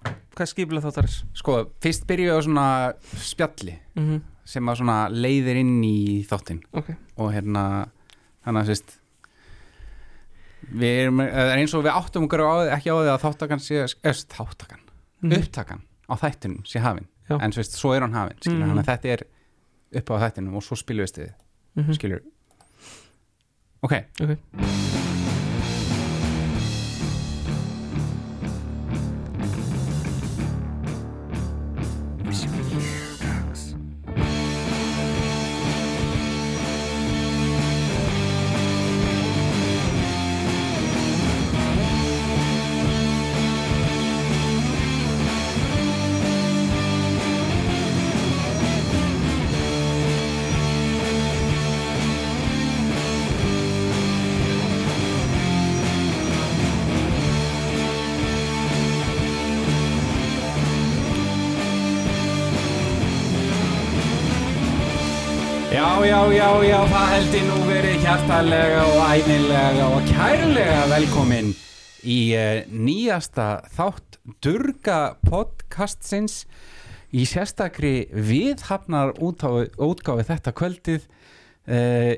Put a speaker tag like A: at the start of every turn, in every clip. A: hvað skipilega þáttarins?
B: Sko, fyrst byrjuðu á svona spjalli
A: Mm -hmm.
B: sem að svona leiðir inn í þáttinn
A: Ok,
B: og hérna þannig að sérst við erum, það er eins og við áttum okkur á, ekki á því að þáttakan sé öst, þáttakan,
A: Mhm.
B: upptakan á þættinum sé hafin,
A: Já.
B: en sérst, svo er hann hafin skilur,
A: Mhm.
B: þannig að þetta er upp á þættinum og svo spilum við stiði,
A: mm -hmm.
B: skilur ok,
A: ok
B: Já, já, já, já, það heldur nú verið hjartalega og ænilega og kærlega velkomin í uh, nýjasta þátt Durga podcastsins í sérstakri viðhafnar útgáfi, útgáfi þetta kvöldið uh,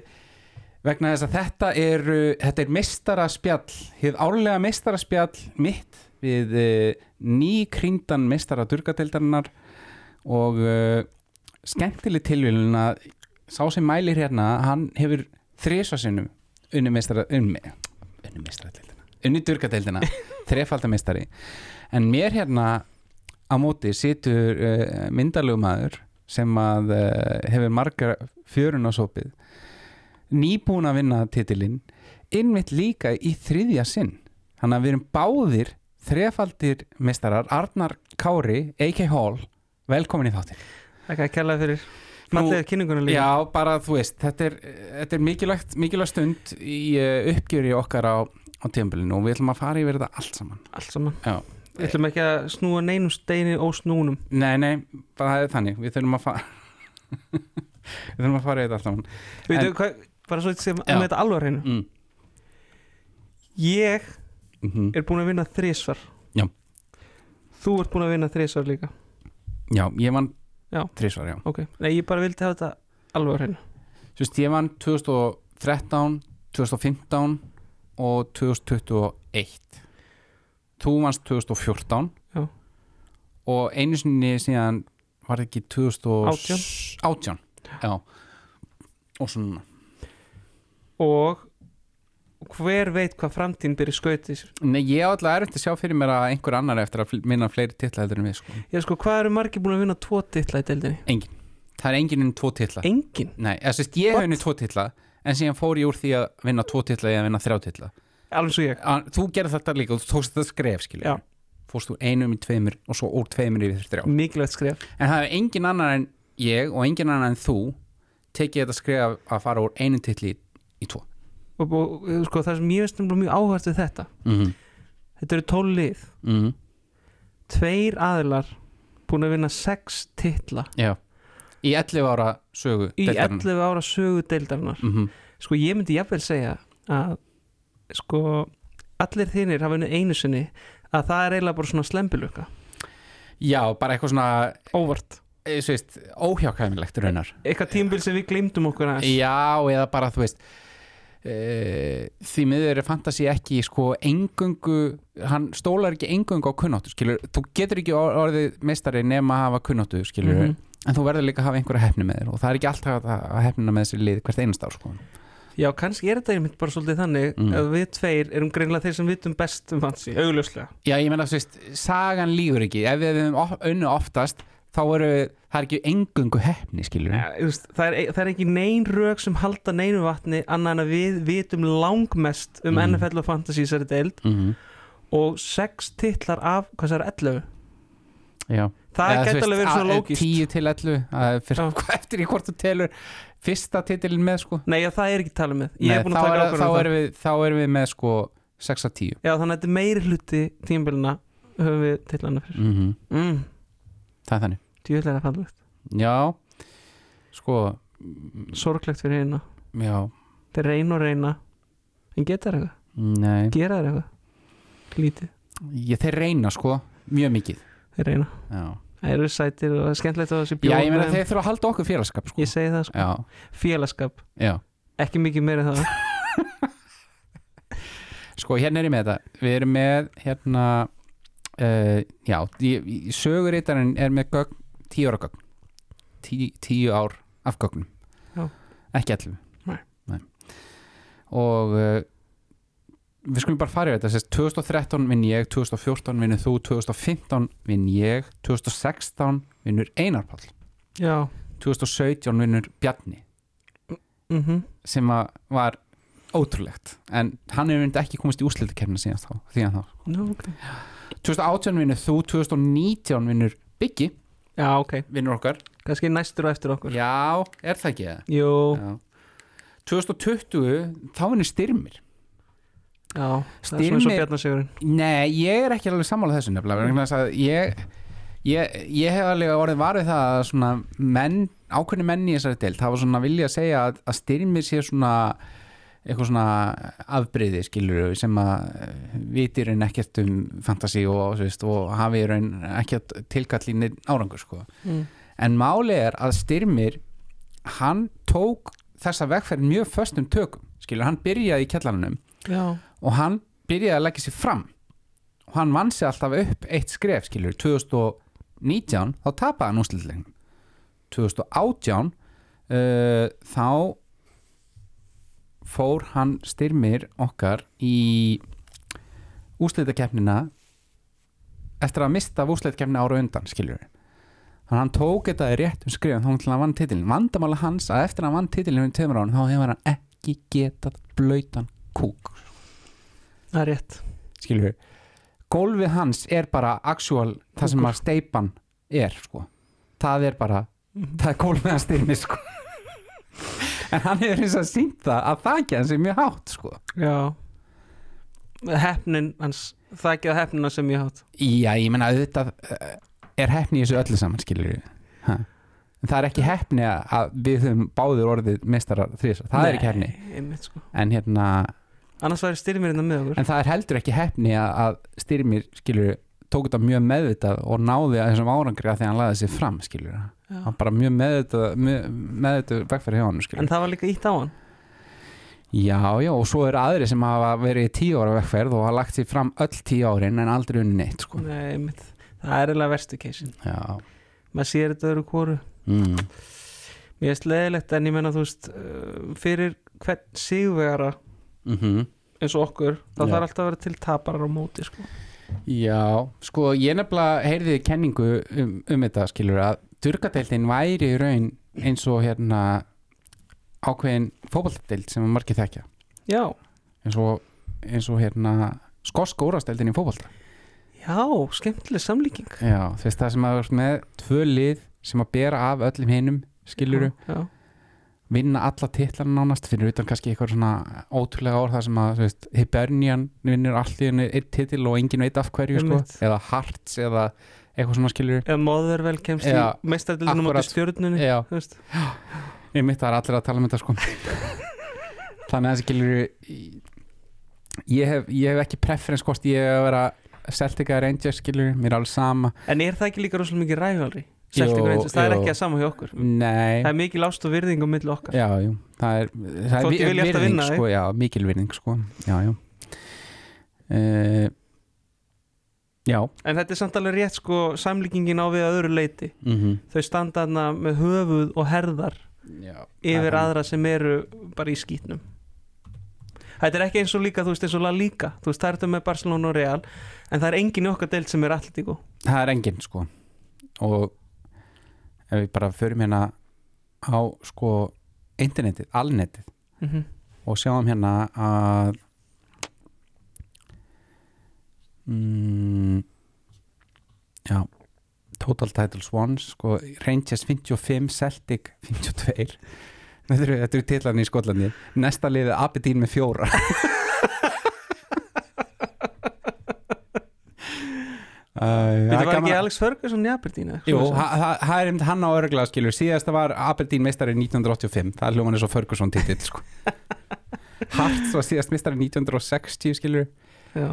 B: vegna þess að þetta er, uh, þetta er mestaraspjall, hið árlega mestaraspjall mitt við uh, nýkrindan mestara Durgadeildarinnar og uh, skemmtileg tilvílun að sá sem mælir hérna, hann hefur þrísa sinnum unni meistara unni, unni meistara unni durgadeildina, þrefaldameistari en mér hérna á móti situr uh, myndarlegu maður sem að uh, hefur margar fjörun á sopið nýbúin að vinna titilinn innmitt líka í þriðja sinn hann að við erum báðir þrefaldir meistarar Arnar Kári, A.K. Hall velkomin í þáttir
A: Það er kærlega fyrir
B: Nú-
A: fallega kynninguna líka
B: Já, bara þú veist, þetta er, þetta er mikilvægt, mikilvægt stund í uh, uppgjöri okkar á, á tímbilinu og við ætlum að fara yfir þetta allt saman.
A: Allt saman
B: Já.
A: Við ætlum ekki að snúa neinum steini ósnúnum
B: Nei, nei, bara það er þannig, við þurfum að fara, við þurfum að fara yfir þetta allt saman.
A: Við
B: En-
A: veitum hvað, bara svo sem
B: Já.
A: að með þetta alvar hreinu
B: Mm.
A: Ég
B: Mm
A: er búin að vinna þrísvar
B: Já.
A: Þú ert búin að vinna þrísvar líka
B: Já, ég vann
A: Já.
B: þrísvar, já.
A: Ok, nei ég bara vildi hafa þetta alvar hreinu
B: Þú veist, ég vann 2013, 2015 og 2021. Þú vannst 2014
A: Já.
B: og einu sinni síðan var það ekki 2018 Já og svona
A: Og hver veit hvað framtíðin byrja skautið sér
B: Nei, ég á alltaf erfitt að sjá fyrir mér að einhver annar eftir að fl- minna fleiri titla heldur en við sko.
A: Ég sko, hvað eru margir búin að vinna tvo titla í deildinni?
B: Það er enginn um tvo titla
A: Engin
B: Nei, ég, sérst, ég
A: What?
B: hef unni tvo titla en síðan fór ég úr því að vinna tvo titla eða vinna þrjá titla
A: Alveg svo ég
B: Að- Þú gerði þetta líka og þú tókst þetta skref skilja
A: Já.
B: Fórst úr einum í tveimur og svo úr tveimur yfir þrjá
A: Mikilvægt skref
B: En það er engin annar en ég og engin annar en þú tekið þetta skref að fara úr einum titli í, í tvo
A: og, og og, sko, það sem ég veist nefnilega mjög áhært við þetta
B: mm -hmm.
A: þetta eru tólið,
B: Mm
A: tveir aðilar búin að vinna sex titla
B: Já Í 11 ára sögu
A: í
B: deildarinnar.
A: 11 ára sögu deildarinnar
B: Mhm.
A: sko ég myndi jafnvel segja að sko allir þínir hafa unni einu sinni að það er eiginlega bara svona slembiluka
B: Já, bara eitthvað svona
A: óvart,
B: eh, þú veist, óhjákæmilegt raunar
A: eitthvað tímbil sem við glimtum okkur aðeins
B: Já, eða bara þú veist Uh, því miður er fantasi ekki sko engungu, hann stólar ekki engungu á kunnáttu, skilur, þú getur ekki or- orðið meistari nema að hafa kunnáttu skilur,
A: Mhm.
B: en þú verður líka að hafa einhverja hefni með þér og það er ekki alltaf að, að hefnina með þessi lið hvert einast ár sko
A: já, kannski er þetta einmitt bara svolítið þannig
B: Mm.
A: að við tveir erum greinlega þeir sem vitum best um fanns í, augljóslega
B: Já, ég meina, þú veist, sagan lífur ekki ef við hefum of- unnu oftast þá eru, það er ekki engungu hefni skilur,
A: Ja, þú veist, það, er, e- það er ekki neyn rök sem halda neynu vatni annan en að við vitum langmest um
B: Mhm.
A: NFL og Fantasy í þessari deild
B: mm -hmm.
A: og sex titlar af, hvað sér, 11
B: já
A: það
B: Eða, þú
A: gæti
B: veist,
A: alveg verið
B: að-
A: svona lógist
B: 10 til 11, að fyrst,
A: Já.
B: hvað eftir í hvort þú telur fyrsta titilin með sko
A: nei, já, það er ekki talið með ég
B: Nei,
A: er búin
B: þá
A: að taka um
B: er- þá
A: ákvörðum er...
B: erum við, þá erum við með sko 6 að 10
A: já, þannig að þetta er meiri hluti tímbilina höfum við titlana fyrir
B: mm
A: mm,
B: það er þannig
A: djúðlega fallegt,
B: já, sko mm,
A: sorglegt fyrir hérna
B: já,
A: þeir reyna og reyna en geta þeir eitthvað,
B: nei
A: gera þeir eitthvað lítið
B: ég, þeir reyna sko mjög mikið
A: þeir reyna
B: já.
A: það eru sætir og það er skemmtilegt að þessi
B: já, ég meina
A: þeim.
B: þeir þurfa að halda okkur félagskap sko.
A: ég segi það sko,
B: já,
A: félagskap
B: já
A: ekki mikið meira en það
B: Sko, hérna er ég með þetta. Við erum með, hérna, uh, já, ég- ég- sögurítarinn er með gögn, tíu ára gögn. Tí, tíu ár af gögnum.
A: Já.
B: Ekki allir.
A: Nei.
B: Nei. Og uh, við skulum bara fara í þetta. Sest, 2013 vinn ég, 2014 vinnur þú, 2015 vinn ég, 2016 vinnur Einar Pall,
A: já,
B: 2017 vinnur Bjarni
A: mhm
B: sem að var ótrúlegt en hann hefur myndi ekki komist í úrslitakefna síðan þá, síðan þá.
A: Nú, ok
B: 2018 vinnur þú, 2019 vinnur Biggi,
A: já, ok,
B: vinnur okkar
A: kannski næstur á eftir okkur
B: já, er það ekki það?
A: jú,
B: Já. 2020, þá vinnur Styrmir
A: já, það er svona eins og
B: Styrmir-
A: Bjarnasigurinn
B: nei, ég er ekki alveg sammála þessu nefnilega vegna þess að ég, ég, ég hef alveg orðið varðið það að svona menn, ákveðni menn í þessari deild hafa svona vilja að segja að, að Styrmir sé svona eitthvað svona afbreyði skilur sem að eh, viti í raun ekkert um fantasi og, þú veist, og hafi í raun ekkert tilkall í neinn árangur sko.
A: mm.
B: En máli er að Styrmir hann tók þessa vegferð mjög föstum tökum, skilur, hann byrjaði í kjallanum
A: já,
B: og hann byrjaði að leggja sér fram og hann vann sér alltaf upp eitt skref, skilur 2019, þá tapaði hann úrslitleiknum 2018 uh, þá fór hann Styrmir okkar í úrslitakeppnina eftir að mista af úrslitakeppnina ára undan, skilur Þannig að hann tók þetta í réttum skrifum þá til hann vann titilin. Vandamála hans að eftir að hann vann titilin um tveimur án þá hefur hann ekki getað blöytan kúk.
A: það er rétt
B: Skilur við? Gólfið hans er bara actual það sem
A: Kúkur.
B: að steipan er sko. Það er bara,
A: Mhm.
B: það er gólfið hans styrmi sko. en hann hefur eins og sínt það að þakja hans er mjög hátt sko.
A: já hefnin hans, það ekki að hefnina sem ég hát
B: Já, ég menna auðvitað eh, er hefni í þessu öllu saman, skilur við ha. En það er ekki hefni að- að við höfum báður orðið mestarar þrísa, það er ekki hefni
A: einmitt, sko.
B: en, hérna,
A: annars væri styrmirinn með okkur
B: en það er heldur ekki hefni að, að styrmir, skilur við tók þetta mjög meðvitað og náði að þessum árangri að því að hann laði sér fram, skilur við
A: Já.
B: hann bara mjög meðvitað, mjög, meðvitað vegferð hjá hann, skilur
A: en það var líka ítt á hann
B: Já, já, og svo eru aðri sem hafa verið í tíu ára vegferð og hafa lagt sér fram öll tíu árin en aldrei unni neitt, sko
A: Nei, einmitt. það er eiginlega verstu keisin
B: Já,
A: maður sér þetta öðru kóru
B: mm.
A: mér er sleðilegt en ég menna þú veist uh, fyrir hvern sigvegara
B: Mm
A: eins og okkur þá
B: Já.
A: þarf alltaf að vera til taparar á móti sko.
B: Já, sko ég nefnilega heyrði kenningu um, um þetta skilur að durgadeildin væri í raun eins og hérna ákveðin fótballteild sem að margir þekkja
A: já,
B: eins og, eins og hérna skoska úrvarsdeildin í fótballta
A: já, skemmtileg samlíking
B: Já, þú veist það sem að þú ert með tvö lið sem að bera af öllum hinum skiluru,
A: já,
B: vinna alla titlar nánast fyrir utan kannski eitthvað svona ótrúlega ár þar sem að þú veist, Hibernian vinnur allir einn titil og enginn veit af hverju sko,
A: Einmitt.
B: eða Hearts eða eitthvað svona skiluru
A: ef maður vel kemst
B: Já,
A: í meistardildinu
B: akkurat.
A: móti stjörnunni
B: Já,
A: þú veist.
B: Ég mitt það er allir að tala um þetta sko Þannig að þessi gilur ég hef, ég hef ekki preference hvort ég hef að vera Celtic eða Rangers skilur, mér er alveg sama
A: en er það ekki líka rosalega mikið ræðvalri
B: Jú,
A: Celtic Rangers, það er
B: jú.
A: ekki að sama hjá okkur
B: Nei,
A: það er mikið lást og virðing á milli okkar
B: já, jú Það er, það er
A: Þótt
B: vi-
A: ég vilji alltaf
B: virðing,
A: vinna, eh?
B: sko, Já, mikil virðing sko Já, já uh, Já
A: en þetta er samt alveg rétt sko samlíkingin á við að öðru leiti
B: mm
A: þau standa þarna með höfuð og herðar
B: já
A: yfir
B: Það-
A: aðra sem eru bara í skýtnum þetta er ekki eins og líka þú veist eins og La Liga þú veist það er þetta með Barcelona og Real en það er engin í okkar deild sem er Atletico
B: það er enginn sko og ef við bara förum hérna á sko internetið, alnetið
A: mm
B: og sjáum hérna að mm, já Total Titles 1 sko, Rangers 55, Celtic 52 þetta eru, þetta eru titlarni í Skotlandi næsta liðið Abedín með fjóra Uh,
A: þetta var ekki Alex Ferguson í Aberdeen eða eitthvað
B: Jú,
A: svoleiðis?
B: ha- ha- það er einmitt hann á örglega skilur síðasta var Aberdeen meistari 1985 það er hljóman eins og Ferguson titill sko. Harts var síðast meistari 1960 skilur
A: Já.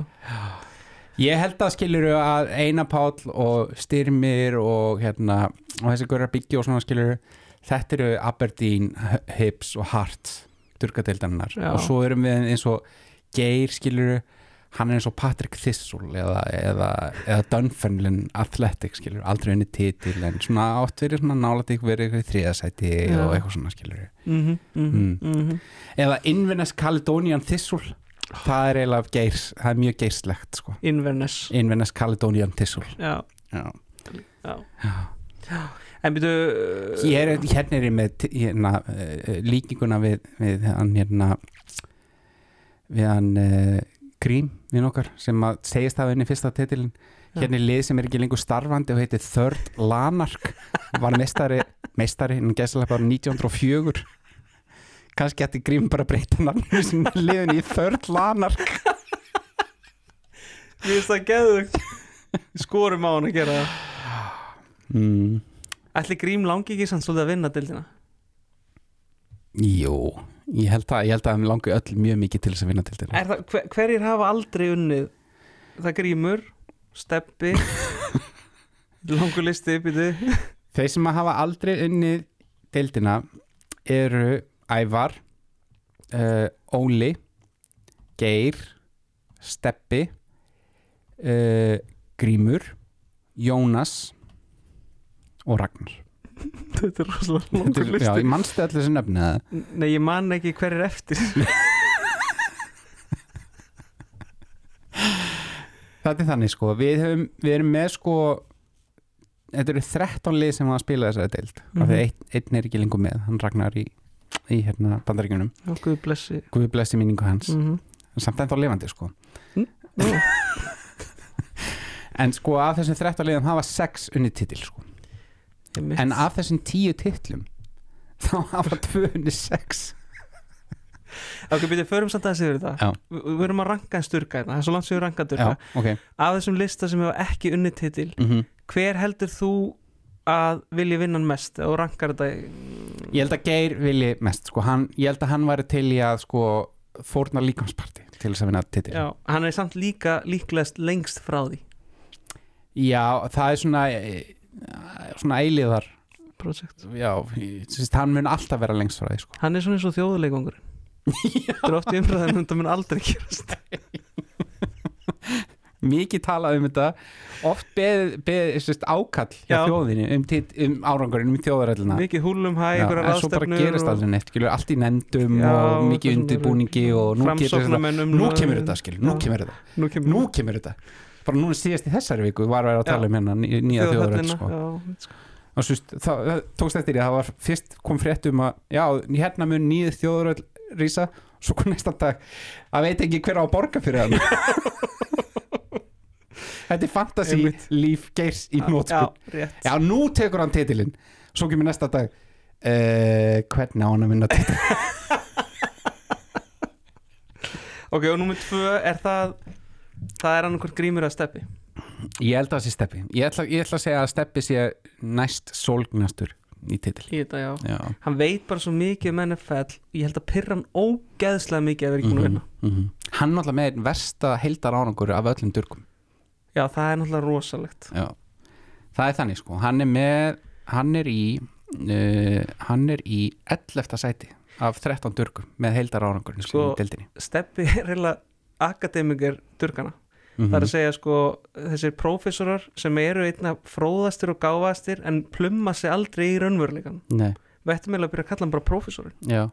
B: Ég held að skilur að Einar Páll og Styrmir og hérna og þessi góra byggja og svona skilur þetta eru Aberdeen, Hibbs og Hart durgadeildarinnar
A: Já.
B: og svo erum við eins og Geir skilur hann er eins og Patrick Thistle eða, eða, eða Dunfermlin Athletic skilur, aldrei unni titil en svona átt verið svona nálætt ykkur verið ykkur í þriðasæti
A: Já.
B: og eitthvað svona skilur
A: mhm,
B: Mm.
A: mhm, mhm.
B: eða Inverness Caledonian Thistle það er eiginlega geirs, það er mjög geirslegt sko
A: Inverness
B: Inverness Caledonian Thistle
A: já,
B: Já.
A: já. en byrju uh,
B: Ég er, hérna er ég með t- hérna, uh, líkinguna við, við hann hérna við hann uh, Grím við okkar sem að segist það henni fyrsta titilin
A: Já.
B: hérna er lið sem er ekki lengur starfandi og heitir Third Lanark var meistari, meistari en gæstilega bara 1904 kannski ætti Grím bara að breyta nafnum sem liðin í Third Lanark
A: Mér finnst það geðugt Skorum á hann að gera það
B: mm.
A: Ætli Grím langi ekki samt svolítið að vinna dildina
B: Jú, ég held það ég held að hann langi öll mjög mikið til þess að vinna til
A: Er það, hver, Hverjir hafa aldrei unnið Það Grímur, Steppi Langur listi byrju
B: Þeir sem að hafa aldrei unnið deildina eru Ævar, uh, Óli, Geir, Steppi, uh, Grímur, Jónas og Ragnar.
A: Þetta er rosalega
B: Þetta
A: langur
B: er- Já,
A: listi
B: ég manstu allir þessi nöfni eða?
A: Nei, ég man ekki hverjir eftir
B: Þetta er þannig sko, við, höfum, við erum með sko, þetta eru 13 lið sem hafa spilað þessari deild. Mm
A: Mhm.
B: -hmm. einn, einn er ekki lengur með, hann Ragnar í, í hérna bandaríkjunum.
A: Ó, Guð blessi
B: Guð blessi minningu hans,
A: mm -hmm.
B: samt ennþá lifandi sko.
A: Mm.
B: En sko af þessum 13 liðum hafa 6 unni titil sko. En af þessum 10 titlum þá hafa 2 unni 6
A: Ok, byrju, förum samt aðeins yfir þetta
B: Já.
A: Vi- Við erum að ranka en sturka þetta Það er Mhm. svo langt sem við ranka
B: Já,
A: durka
B: ok
A: Af þessum lista sem hefa ekki unnið titil
B: mm
A: Hver heldur þú að vilji vinnan mest og rankar þetta
B: Ég held að Geir vilji mest sko. hann, Ég held að hann væri til í að sko, fórna líkamsparti til þess að vinna titil
A: já, hann er samt líka líklegast lengst frá því
B: Já, það er svona eh, svona eilíðar
A: projekt.
B: Já, ég- þú veist, hann mun alltaf vera lengst frá því sko.
A: hann er svona eins og þjóðuleikungur þetta er oft í umræðan þetta mun aldrei gerast
B: Mikið talað um þetta Oft beð, beð, sérst, ákall
A: Já.
B: hjá þjóðinni um, tit- um árangurinn, um þjóðarællina
A: mikið húlum hæ,
B: Já,
A: einhverja
B: en svo bara gerist
A: ráðstefnur
B: aldrei neitt skilur, allt í nefndum
A: Já,
B: og mikið
A: eitthvað
B: undirbúningi og nú, gerist þetta,
A: framsóknarmennum
B: nú kemur þetta skilur, nú
A: Já.
B: kemur þetta,
A: nú kemur,
B: nú kemur þetta bara núna síðast í þessari viku var að vera að
A: Já.
B: tala um hérna ný- nýja þjóðaröld
A: þjóðhöllina,
B: sko.
A: já, sko.
B: og svo það, það tókst eftir því að það var fyrst kom frétt um að já, hérna mun nýja þjóðaröld rísa svo kom næsta dag að veit ekki hver á að borga fyrir hann þetta er fantasi
A: Einmitt.
B: líf geirs í nótskun
A: já, rétt
B: Já, nú tekur hann titilinn Svo kemur næsta dag uh, Hvernig á hann að vinna titilinn?
A: ok, og númer tvö er það það er annarkvort grímur að steppi
B: Ég held að það sé Steppi ég ætla, ég ætla að segja að Steppi sé næst sólgnastur í titil
A: í þetta, já
B: Já
A: hann veit bara svo mikið um NFL ég held að pyrra hann ógeðslega mikið að vera ekki búin að vinna
B: -hmm. Hann náttúrulega með einn versta heildar ánangur af öllum durkum
A: já, það er náttúrulega rosalegt
B: Já. Það er þannig sko Hann er með Hann er í uh, Hann er í 11. sæti af 13 durkum með heildar ánangur
A: Sko,
B: í deildinni
A: Steppi er reyla akademiker durkana
B: mm
A: það er að segja sko þessir prófessorar sem eru einna fróðastir og gáfastir en plumma sig aldrei í raunveruleikan
B: Mhm. Nei,
A: við ættum eiginlega að byrja að kalla hann bara prófessorinn
B: já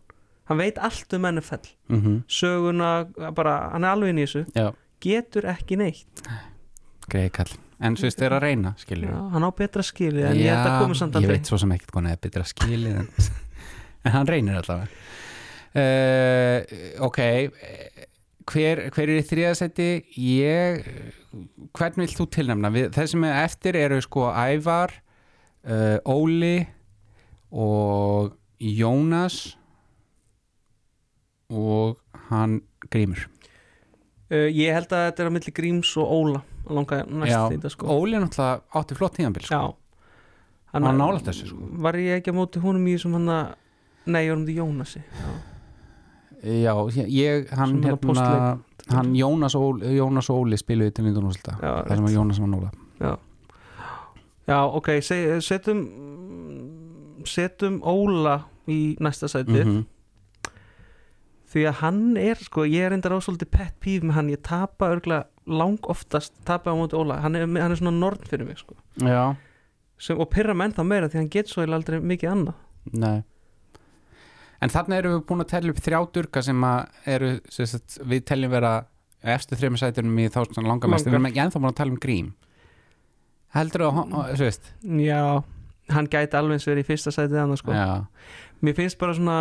A: hann veit allt um NFL
B: mm
A: söguna, bara, hann er alveg inn í þessu
B: Já,
A: getur ekki neitt
B: greiði kall En svo veist, er að reyna, skilur
A: Já, hann á betra skilið en ég ætla að koma samt
B: ég
A: aldrei
B: veit svo sem ekkert konar eða betra skilið en, en hann reynir allavega uh, ok eh, hver, hver er í þriðasetti ég hvern vill þú tilnæmna Við, þeir sem er eftir eru sko Ævar uh, Óli og Jónas og hann Grímur
A: uh, ég held að þetta er á milli Gríms og Óla að langa næst
B: Já,
A: Já. þetta sko
B: Óli er náttúrulega átti flott tíðanbíl sko.
A: Já
B: hann var nálægt þessu sko
A: Var ég ekki á móti honum í þessum hann að Nei, ég var um því Jónasi Já,
B: Já, ég, hann
A: Svona
B: hérna
A: postleik.
B: hann Jónas, Ól, Jónas Óli spiluði til Lindun Úslita,
A: Já,
B: það sem að Jónas var Nóla
A: já já ok, se- setjum setjum Óla í næsta sæti
B: -hmm.
A: því að hann er sko, ég er reyndar á svolítið pet píf með hann, ég tapa örgla lang oftast tapa á móti Óla hann er, hann er svona norn fyrir mig sko
B: Já,
A: Sem, og pyrra menn þá meira því hann getur svo eiginlega aldrei mikið annað
B: nei En þarna erum við búin að tella upp þrjá durka sem að eru, sem sagt, við teljum vera efstu þreymur sætunum í þá svona langamest við
A: Langar.
B: erum ekki ennþá búin að tala um grím Heldur þú
A: Mm.
B: að, þú veist
A: já, hann gæti alveg eins verið í fyrsta sætið annað sko
B: Já,
A: mér finnst bara svona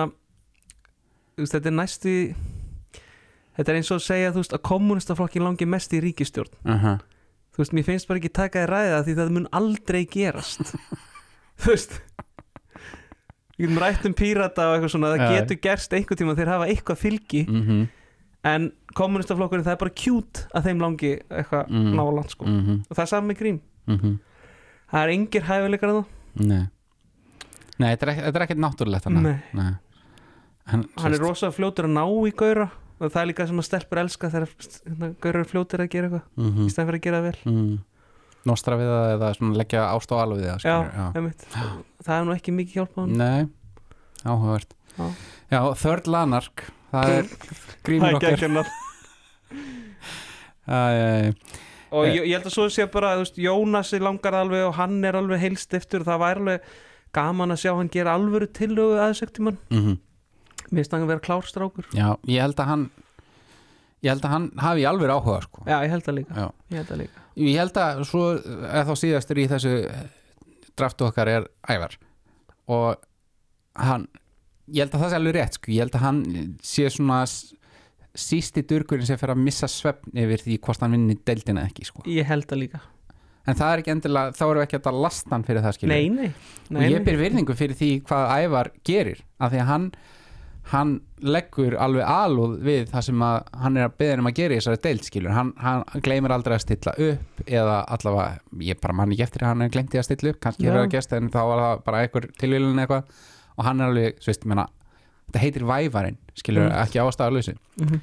A: þú veist, þetta er næsti þetta er eins og að segja þú veist að kommunistaflokki langi mest í ríkistjórn
B: uh -huh.
A: þú veist, mér finnst bara ekki taka þér ræða því það mun aldrei gerast þú veist við getum rætt um pírata og eitthvað svona það
B: Já.
A: getur gerst einhvern tíma þeir hafa eitthvað fylgi
B: Mm -hmm.
A: en kommunistaflokkurinn það er bara kjút að þeim langi eitthvað
B: Mm.
A: mm. náland sko
B: Mm -hmm.
A: og það er saman með grím það er engir hæfileikar að það
B: Mhm. Nei Nei, þetta er ekki- þetta er ekkert náttúrulegt hann
A: Nei.
B: Nei. Hann,
A: hann er rosa fljótur að ná í gauðra og það er líka sem að stelpur elska þegar hérna, gauðra er fljótur að gera eitthvað
B: mm
A: í stæðan fyrir að gera það vel
B: mm. Nostra við það eða svona leggja ást og alveg við það
A: já,
B: skilur, já.
A: einmitt. það er nú ekki mikið hjálp á hann
B: Nei, áhugavert
A: Já.
B: Já, Third Lanark það er grímur okkar
A: geggjum
B: Æ, æ, æ.
A: og ég, ég held að svo sé bara þú veist, Jónas langar alveg og hann er alveg heilst eftir og það væri alveg gaman að sjá hann gera alvöru tillögu aðsöktum hann
B: Mhm.
A: mér finnst hann að vera klárstrákur
B: Já, ég held að hann ég held að hann hafi alveg áhuga sko.
A: já, ég held það líka,
B: Já.
A: ég held það líka.
B: Ég held að svo eða þá síðastur í þessu draftu okkar er Ævar og hann ég held að það sé alveg rétt sko. ég held að hann sé svona s- sísti durkurinn sem fer að missa svefn yfir því hvort hann vinni deildina eða ekki sko.
A: ég held það líka
B: en það er ekki endilega, þá erum við ekki að lasta hann fyrir það skilur
A: nei, nei, nei,
B: og ég
A: nei.
B: byr virðingu fyrir því hvað Ævar gerir af því að hann hann leggur alveg alúð við það sem að hann er að beða um að gera í þessari deild skilur, hann, hann gleymir aldrei að stilla upp eða allavega, ég bara mann ekki eftir að hann er gleymdi að stilla upp, kannski
A: Já.
B: hefur það gerst en þá var það bara einhver tilvílun eitthvað og hann er alveg, svo veist, menna þetta heitir vævarinn, skilur,
A: Mm.
B: ekki ástæðalösi
A: Mhm.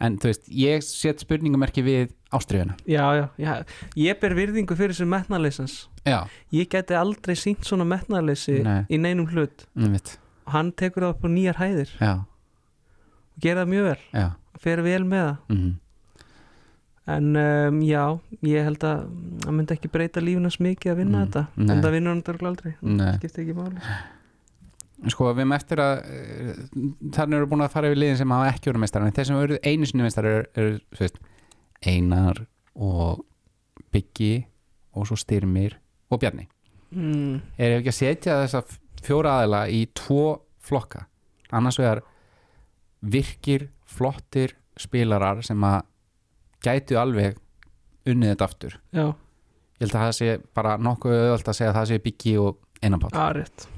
B: en þú veist, ég set spurningumerki við ástriðuna
A: já, já, já, ég ber virðingu fyrir þessu metnaleysans
B: já,
A: ég geti aldrei sínt svona metnaleysi
B: Nei.
A: í neinum hlut
B: um mitt,
A: og hann tekur það upp á nýjar hæðir
B: já,
A: og gera það mjög vel,
B: já
A: fer vel með það
B: mm
A: En um, já, ég held að það myndi ekki breyta lífinans mikið að vinna
B: Mm,
A: þetta
B: nei.
A: en það vinnur hann dörgla aldrei
B: Nei.
A: það skiptir ekki máli
B: sko við erum eftir að eh, þarna eru búin að fara yfir liðin sem hafa ekki verið meistarar en þeir sem eru einu sinni meistarar eru, eru þú veist, Einar og Byggi og svo Styrmir og Bjarni
A: mm,
B: er ekki að setja þessa f- fjóra aðila í tvo flokka annars vegar virkir flottir spilarar sem að gætu alveg unnið þetta aftur
A: Já,
B: ég held að það sé bara nokkuð auðvöld að segja að það sé Byggi og Einar Páll
A: aðrétt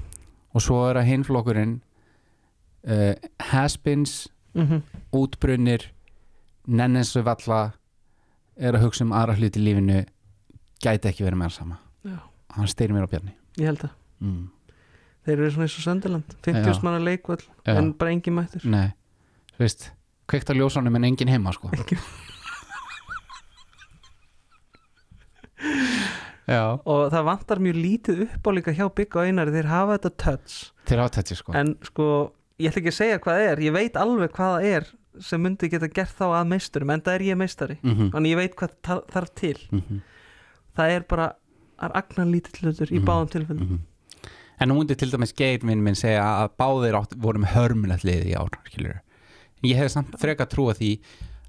B: og svo er að hinflokkurinn uh, has-beens
A: mm -hmm.
B: útbrunnir nenninsu valla er að hugsa um aðra hluti í lífinu gæti ekki verið meira sama
A: Já.
B: hann styrir mér á bjarni
A: Ég held að
B: mm.
A: þeir eru svona eins og Söndaland 50
B: Já.
A: manna leikvall
B: Já.
A: en bara engin mættur
B: nei, þú veist kveikt á ljósanum en enginn heima sko já,
A: og það vantar mjög lítið upp á líka hjá Bygg og Einari þeir hafa þetta touch
B: til átætti sko
A: en sko, ég ætla ekki að segja hvað það er ég veit alveg hvað það er sem myndi geta gert þá að meisturum en það er ég meistari
B: mm -hmm.
A: þannig ég veit hvað þar- þarf til það er bara það er agnar lítill hlutur í
B: Mhm.
A: báðum tilfellum
B: En nú myndi til dæmis geit minn minn segja að báðir átt, vorum hörmulegt liðið í ár, skilur. Ég hefði samt frekar trúa því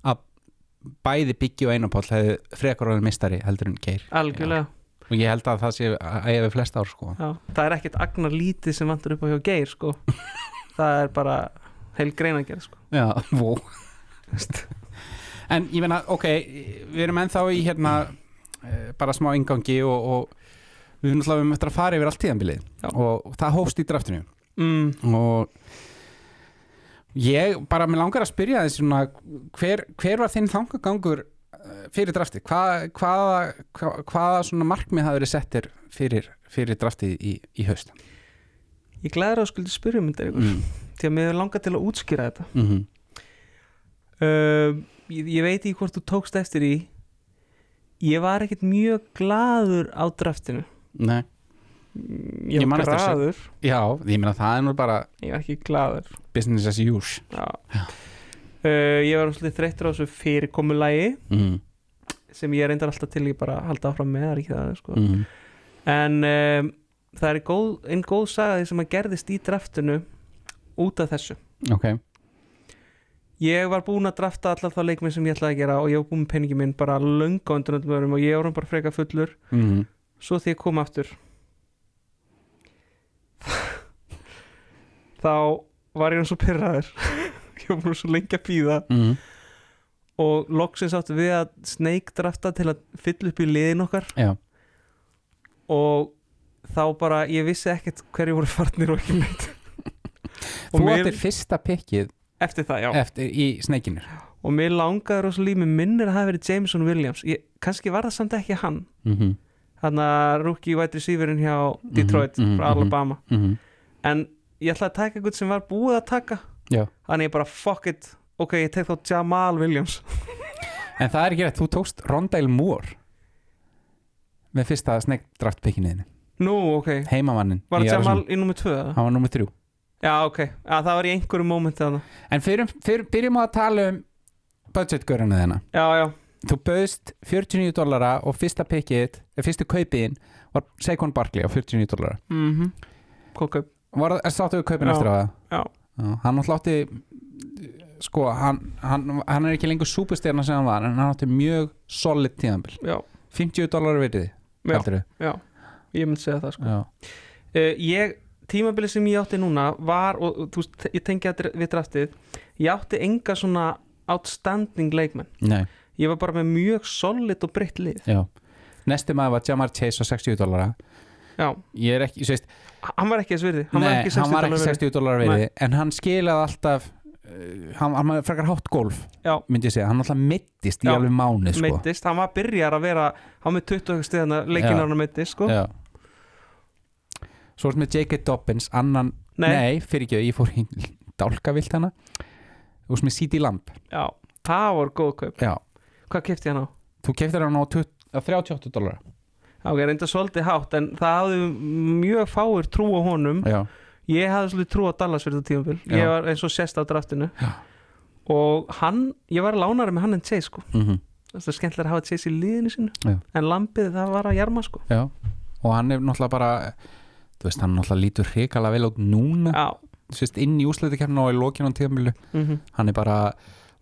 B: að bæði Byggi og Einarpáll hefði frekar orðin mistari heldur en geir.
A: Algjörlega,
B: Og ég held að það sé að ég hefði flest ár, sko.
A: já. Það er ekkert agnar lítið sem vantur upp á hjá geir sko. það er bara heil grein að gera sko.
B: Já, vó. en ég meina, ok, við erum ennþá í hérna eh, bara smá ingangi og, og við erum náttúrulega um eftir að fara yfir allt tíðanbilið.
A: Já.
B: Og það hófst í draftinu.
A: mm,
B: og ég bara mér langar að spyrja þessi svona hver, hver var þinn þangagangur eh, fyrir drafti Hva, hvaða, hva, hvaða svona markmið hafa verið settir fyrir, fyrir draftið í, í haust
A: Ég glæður að skuldi spyrjum þetta mm.
B: mm.
A: því að mér er langað til að útskýra þetta
B: Mm -hmm.
A: um, ég, ég veit ekki hvort þú tókst eftir í ég var ekkert mjög gladur á draftinu
B: Nei.
A: ég,
B: Ég man
A: var
B: eftir þessu.
A: gladur,
B: Já, ég meina það er nú bara
A: ég var ekki gladur
B: business as usual
A: já. Uh, ég var um svolítið þreyttur á þessu fyrirkomulagi
B: mm.
A: sem ég reyndar alltaf til ég bara að halda áfram með það er ekki það sko.
B: Mm.
A: en um, það er góð, einn góð saga því sem að gerðist í draftinu út af þessu
B: Ok,
A: ég var búinn að drafta allar þá leikminn sem ég ætlaði að gera og ég var búinn með peningi minn bara löngu á undan öllum öðrum og ég var hann bara freka fullur
B: mm.
A: svo því ég kom aftur þá var ég hann svo pyrraður ég var búinn svo lengi að býða
B: Mm.
A: og loksins áttu við að snake drafta til að fylla upp í liðin okkar
B: Já.
A: og þá bara ég vissi ekkert hverju voru farnir og ekki neitt
B: Þú
A: Og mér-
B: áttir fyrsta pikkið
A: eftir það já
B: eftir í sneikinir
A: og mér langaði rosa líf, mér minnir að það hafi verið Jameson Williams, ég, kannski var það samt ekki hann
B: mm -hmm.
A: þannig að rookie wide receiverinn hjá Detroit
B: mhm,
A: frá
B: mhm.
A: Alabama
B: Mm -hmm.
A: en ég ætlaði að taka eitthvað sem var búið að taka
B: Já.
A: þannig ég bara fuck it ok, ég tek þá Jamal Williams
B: En það er ekki rétt, þú tókst Rondale Moore með fyrsta sneggdraft pikkinniðinu
A: nú ok,
B: heimamannin
A: var
B: í
A: það Jamal
B: Arizona.
A: í nummer 2 eða?
B: hann var nummið þrjú
A: já ok, ja, það var í einhverju mómenti þarna
B: En fyrir, fyrir, byrjum á að tala um budgetgöruna þennan
A: já, já,
B: Þú bauðst 49 dollara og fyrsta pikkið, eða fyrstu kaupiðin var Saquon Barkley á 49 dollara
A: mhm mm kokka,
B: Var það, sáttu við kaupin
A: Já.
B: eftir á það?
A: Já.
B: Hann náttúrulega átti sko, hann, hann, hann er ekki lengur súpustjarna sem hann var, en hann átti mjög solid tíðanbíl,
A: já,
B: 50 dollara verið
A: já, já ég myndi segja það sko
B: Já.
A: uh, ég, tímabilið sem ég átti núna var, og og þú veist, ég tengi að dr- við draftið, ég átti enga svona outstanding leikmenn
B: Nei,
A: ég var bara með mjög solid og breytt lið
B: já Næstu maður var Jamar Chase á 60 dollara
A: já,
B: Ég er ekki, þú veist
A: hann var ekki þess virði hann var
B: Nei,
A: ekki
B: hann
A: 60
B: var ekki
A: dollara virði.
B: 60 dólar veiði en hann skilaði alltaf uh, hann, hann var frekar hátt golf
A: Já.
B: myndi ég segja, hann alltaf mittist í
A: Já.
B: alveg mánuð sko.
A: meittist, hann var að byrjar að vera hann var með 20 stegna
B: Já.
A: leikinn hann meittist sko.
B: Já. Svo er með J.K. Dobbins annan, nei,
A: nei,
B: nei fyrir ekki ég fór hinn dálkavilt hana og sem er C.D. Lamb
A: já, það var góð kaup
B: Já.
A: hvað kefti hann á?
B: þú keftir hann á 20 á 38 dólar
A: Já, ok, reynda svolítið hátt en það hafði mjög fáir trú á honum
B: Já.
A: ég hafði svolítið trú á Dallas fyrir þetta tímabil
B: Já.
A: ég var eins og sérst á draftinu
B: Já.
A: og hann, ég var lánari með hann en Chase sko.
B: Mm
A: það er skemmtilega að hafa Chase í liðinu sinu
B: Já.
A: en Lambið það var að jarma sko.
B: Já. og hann er náttúrulega bara þú veist, hann náttúrulega lítur hrikalega vel út núna
A: já,
B: Þú veist, inn í úsleitikefna og í lokinu á tíðamilu
A: mm
B: hann er bara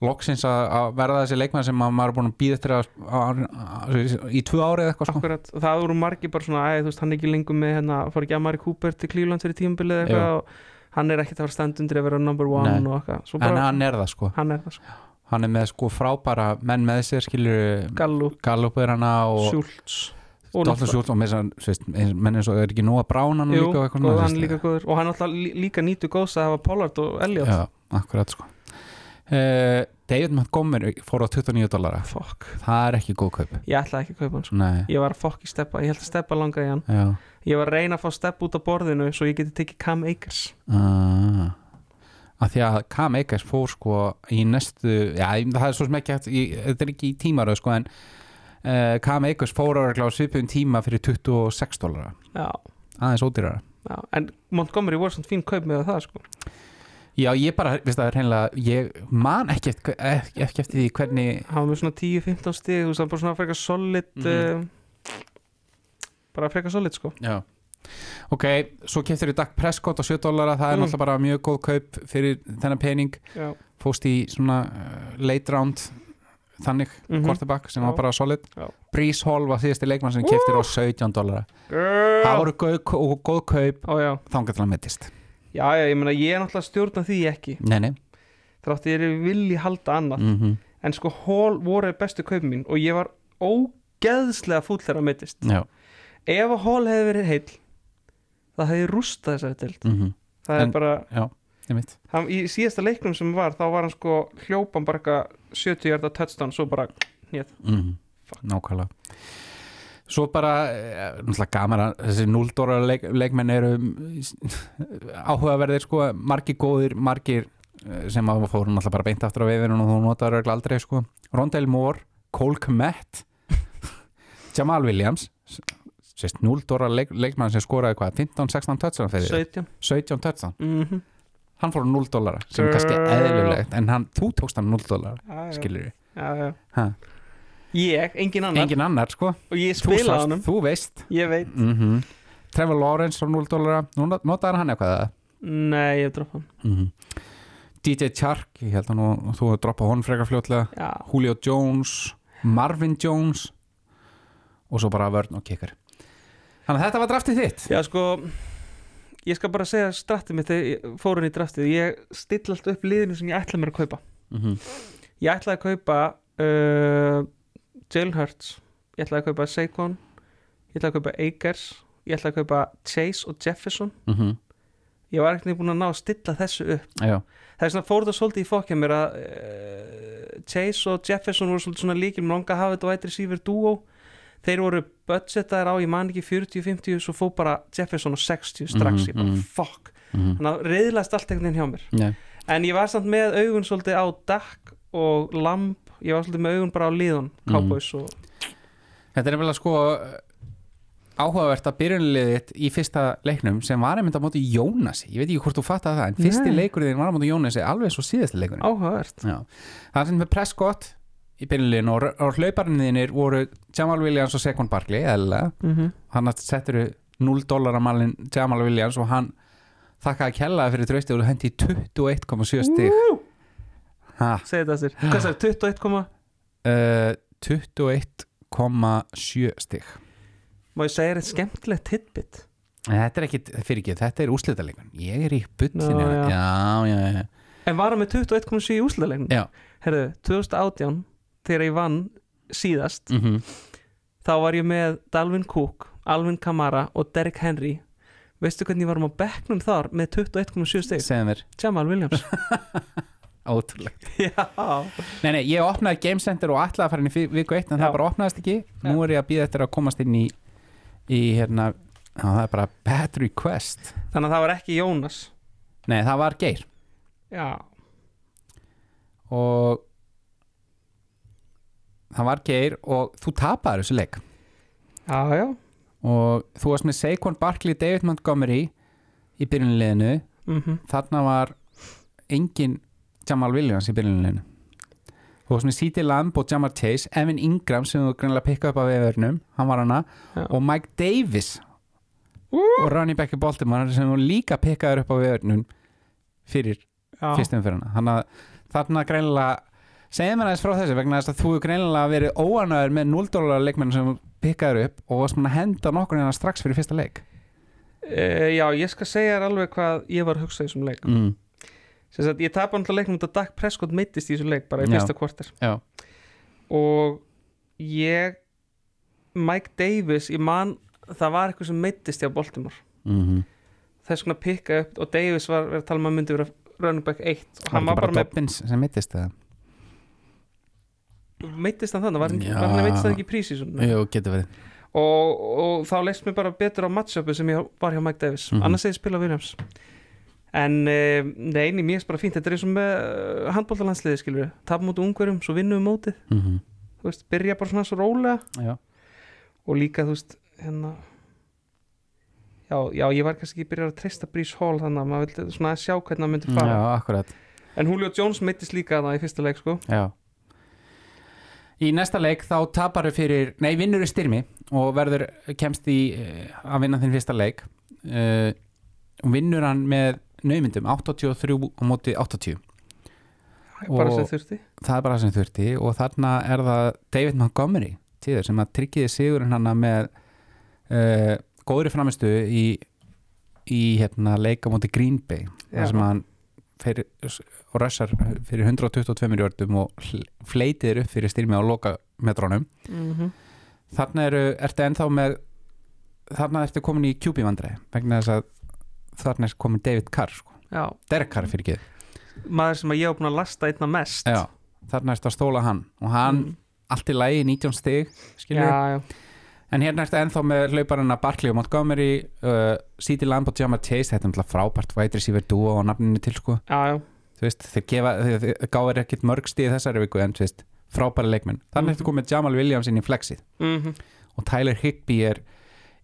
B: loksins að, að verða þessi leikmann sem að maður er búin að býða eftir að, að, að, í tvö ári eða eitthvað sko.
A: akkurat og það voru margir bara svona, æ, þú veist, hann er ekki lengur með hérna, fór ekki Amari Cooper til Cleveland fyrir tímabilið eða eitthvað og hann er ekkert að fara standundir að vera number one
B: Nei.
A: og eitthvað, svo
B: en
A: bara,
B: hann er það sko
A: hann er það sko.
B: hann er með sko frábæra menn með sér skilur
A: Gallup,
B: Gallupur hana og
A: Schultz og
B: Dóttar
A: náttúrulega-
B: Sjúls og með þess að menn eins og er ekki nóga brán hann
A: Jú,
B: líka og eitthvað
A: og hann
B: svona, þú
A: er
B: veist.
A: líka góður og hann alltaf líka nýtu góðs að hafa Pollard og Elliot
B: Já, akkurat sko uh, David Montgomery fór á 29 dollara
A: Fuck,
B: það er ekki góð kaup
A: ég ætlaði ekki að kaupa hann sko.
B: Nei,
A: Ég var að fokk í steppa, ég held að steppa langa í hann
B: já
A: Ég var að reyna að fá stepp út af borðinu Svo ég geti tekið Cam Akers
B: Ah, að því að Cam Akers fór sko í næstu já, ég- það er svo sem ekki hægt í- þetta er ekki í tímaröð sko en uh, Cam Akers fór ára svipum tíma fyrir 26 dólar
A: Já,
B: aðeins ódýrara
A: já En Montgomery voru svona fín kaup með það sko
B: já ég bara, veist það er hreinlega ég man ekki eftir, eh, ekki, ekki eftir því hvernig
A: Hann var með svona 10-15 stig Þú veist, hann bara svona frekar solid mm
B: Mhm.
A: Bara frekar solid sko
B: já ok, svo keftir þú Dak Prescott á 7 dólar það er
A: Mm.
B: náttúrulega bara mjög góð kaup fyrir þennan pening
A: Já,
B: fóst í svona uh, late round þannig
A: Mhm.
B: quarterback sem
A: Já.
B: var bara solid
A: Já.
B: Breeze Hall var síðasti leikmann sem keftir á 17 dólara það
A: Girl
B: voru góð, og góð kaup
A: Ó, já.
B: þangar til að mittist
A: já, já, ég meina ég er náttúrulega stjórna því ekki
B: nei, nei.
A: Þrátt ég er vilji halda annað
B: Mm
A: En sko, hól voru bestu kaupin mín Og ég var ógeðslega fúll þegar að meittist
B: Já,
A: ef að Hall hefði verið heill það hefði rústa þessari deild
B: mm -hmm.
A: það
B: En-
A: er bara,
B: einmitt
A: hann, í síðasta leiknum sem var þá var hann sko hljópan bara eitthvað 70 hjarta touchdown, svo bara
B: mm nákvæmlega svo bara, eh, náttúrulega gaman að þessi 0 eh, dólar leik, leikmenn eru mm, áhugaverðir sko, margir góðir, margir eh, sem að fór hún alltaf bara beint aftur á vefinu og þú notar örugglega aldrei sko Rondell Moore, Cole Kmet Jamal Williams s- sérst 0 dóra leik, leikmann sem skoraði hvað 15-16 touchdown fyrir þér?
A: 17
B: 17 touchdown,
A: mm
B: hann fór á 0 dólara sem er kannski eðlulegt en hann, þú tókst hann 0 dólara skilur við, Ha.
A: Ég, engin annar
B: engin annar sko
A: Og ég
B: þú,
A: spila
B: sást,
A: honum
B: þú veist
A: Ég veit
B: mm Trevor Lawrence á 0 dólara Nú not- notaði hann eitthvað eða?
A: Nei, ég dropp hann
B: Mhm. DJ Chark, ég held að nú, þú hefur droppað honum frekar fljótlega
A: Já,
B: Julio Jones, Marvin Jones og svo bara vörn og kikkar þannig að þetta var draftið þitt
A: Já sko Ég skal bara segja strattið mitt þegar ég fór inn í draftið Ég stilla allt upp liðinu sem ég ætla mér að kaupa
B: mm -hmm.
A: Ég ætlaði að kaupa uh, Jalen Hurts Ég ætlaði að kaupa Saquon Ég ætlaði að kaupa Akers Ég ætlaði að kaupa Chase og Jefferson
B: Mm -hmm.
A: Ég var ekkert búin að ná að stilla þessu upp
B: Já,
A: Það er svona fór það svolítið í fokkja mér að uh, Chase og Jefferson voru svolítið svona líkil Mér langa að hafa þetta vætri sífur dúo Þeir voru budgetaðir á, ég man ekki 40-50, svo fó bara Jefferson og 60 strax,
B: Mhm,
A: ég bara
B: mhm.
A: fuck
B: mm
A: þannig að reyðlast allt einhvern veginn hjá mér
B: -hmm.
A: en ég var samt með augun svolítið á Dak og Lamb, ég var svolítið með augun bara á liðun
B: Mhm.
A: Cowboys og
B: Þetta er nefnilega sko eh, áhugavert að byrjunliðið þitt í fyrsta leiknum sem var einmitt á móti Jónasi ég veit ekki hvort þú fattaði það, en fyrsti
A: Nei.
B: leikurinn þinn var á móti Jónasi alveg svo síðasti leikurinn
A: áhugavert
B: Já. Það sem með Prescott í byrjunliðin og, og hlauparinniðinir voru Jamal Williams og Sekon Barkley eðlilega,
A: mm -hmm.
B: hann settur 0 dólar að malin Jamal Williams og hann þakkaði kellaði fyrir tröstið og hendi í 21,7 stig ha,
A: segi þetta sér, hvað sagði, 21 koma
B: uh, 21,7 stig
A: má ég segja þetta skemmtilegt tidbit
B: Nei, Þetta er ekki, fyrir ekki, þetta er úrslitaleikunn Ég er í bullinu
A: Nú, já.
B: já. Já, já, já,
A: en var hann með 21,7 í úsleðalegnum
B: Já.
A: herðu, 2018 þegar ég vann síðast
B: Mm -hmm.
A: þá var ég með Dalvin Cook, Alvin Kamara og Derrick Henry veistu hvernig ég varum á bekknum þar með 21,7 stig
B: segðu mér,
A: Jamal Williams
B: ótrúlegt
A: já
B: Nei, nei, ég opnaði Game Center og ætlaði að fara inn í fi- viku 1 en
A: Já.
B: það bara opnaðist ekki Nú er ég að býða eftir að komast inn í, í hérna, á, það er bara bad request
A: Þannig að það var ekki Jónas
B: Nei, það var Geir
A: Já
B: og það var Geir og þú tapaði þessu leik
A: Já, já
B: og þú varst með Saquon Barkley David Montgomery í byrjunliðinu
A: mm
B: þarna var engin Jamal Williams í byrjunleginu þú varst með C.D. Lamb og Jamal Chase Evan Ingram sem þú greinlega pikka upp af vefurnum, hann var hana
A: Já.
B: og Mike Davis og Ronnie Becker Baltimore sem þú líka pikkaður upp af vefurnum fyrir
A: já.
B: fyrstum fyrir hana þannig að þarna greinlega segja mér aðeins frá þessu vegna þess að þú hefur greinlega verið óanöður með 0 dólar leikmenn sem þú pikkaður upp og varst með að henda nokkur hérna strax fyrir fyrsta leik
A: Eh, já, ég skal segja þér alveg hvað ég var að hugsa í þessum leik
B: mm.
A: Sem sagt, ég tapa náttúrulega leiknum út að Dak Prescott meittist í þessum leik bara í
B: Já.
A: fyrsta kvartir
B: Já.
A: Og ég Mike Davis, ég man það var eitthvað sem meittist hjá Baltimore
B: Mm -hmm.
A: þess vegna pikka upp og Davis var verið að tala um að myndi vera running back 1 og hann var bara með,
B: Dobbins sem mittist það
A: meittist hann þannig var,
B: Já.
A: var hann meittist það ekki í prísísun
B: Jú, getur verið
A: og, og þá leist mér bara betur á matchupu sem ég var hjá Mike Davis
B: Mhm.
A: annars hefði ég spilað Williams en eh, nei, nei, mér er bara fínt þetta er eins og með eh, handbóltalandsliði skilur tapum út ungverjum, svo vinnum við mótið
B: mm
A: þú veist, byrja bara svona svo rólega
B: -hmm.
A: og líka, þú veist, hérna já, já, ég var kannski ekki byrjar að treysta Brees Hall þannig að maður vildi svona að sjá hvernig hann myndi fara
B: Mm, Já, akkurat
A: en Julio Jones meittist líka það í fyrsta leik sko
B: Já. Í næsta leik þá tapar þau fyrir, nei vinnur þau styrmi og verður, kemst í uh, að vinna þinn fyrsta leik uh, og vinnur hann með naumyndum 83 á móti 80
A: bara
B: Og-
A: sem þurfti
B: það er bara það sem þurfti og þarna er það David Montgomery tíður sem að tryggiði sigurinn hann með uh, góðri framistu í, í hérna, leika móti Green Bay
A: Já.
B: þar sem hann fer og rössar fyrir 122 jörgum og hl- fleytir upp fyrir styrmi á loka metrónum
A: mm -hmm.
B: þarna eru, ertu ennþá með þarna ertu komin í QB vandræði vegna þess að þarna er komin David Carr sko.
A: já,
B: Derek Carr fyrir ekki
A: maður sem að ég á búin að lasta einna mest
B: Já, þarna ertu að stóla hann og hann
A: Mm.
B: allt í lagi 19 stig skilur
A: já, já,
B: en hérna ertu ennþá með hlauparinn að Barkley og Montgomery uh, City Lamb og Jama Chase þetta er náttúrulega frábært vætri síver dúa og nafninu til sko
A: já, já.
B: Þú þú veist, þeir gefa, þeir, þeir gáður ekkit mörg stíð þessari viku en þú veist, frábæra leikmenn
A: Mhm.
B: þannig mm. ertu komið Jamal Williams inn í flexið
A: mm -hmm.
B: og Tyler Higby er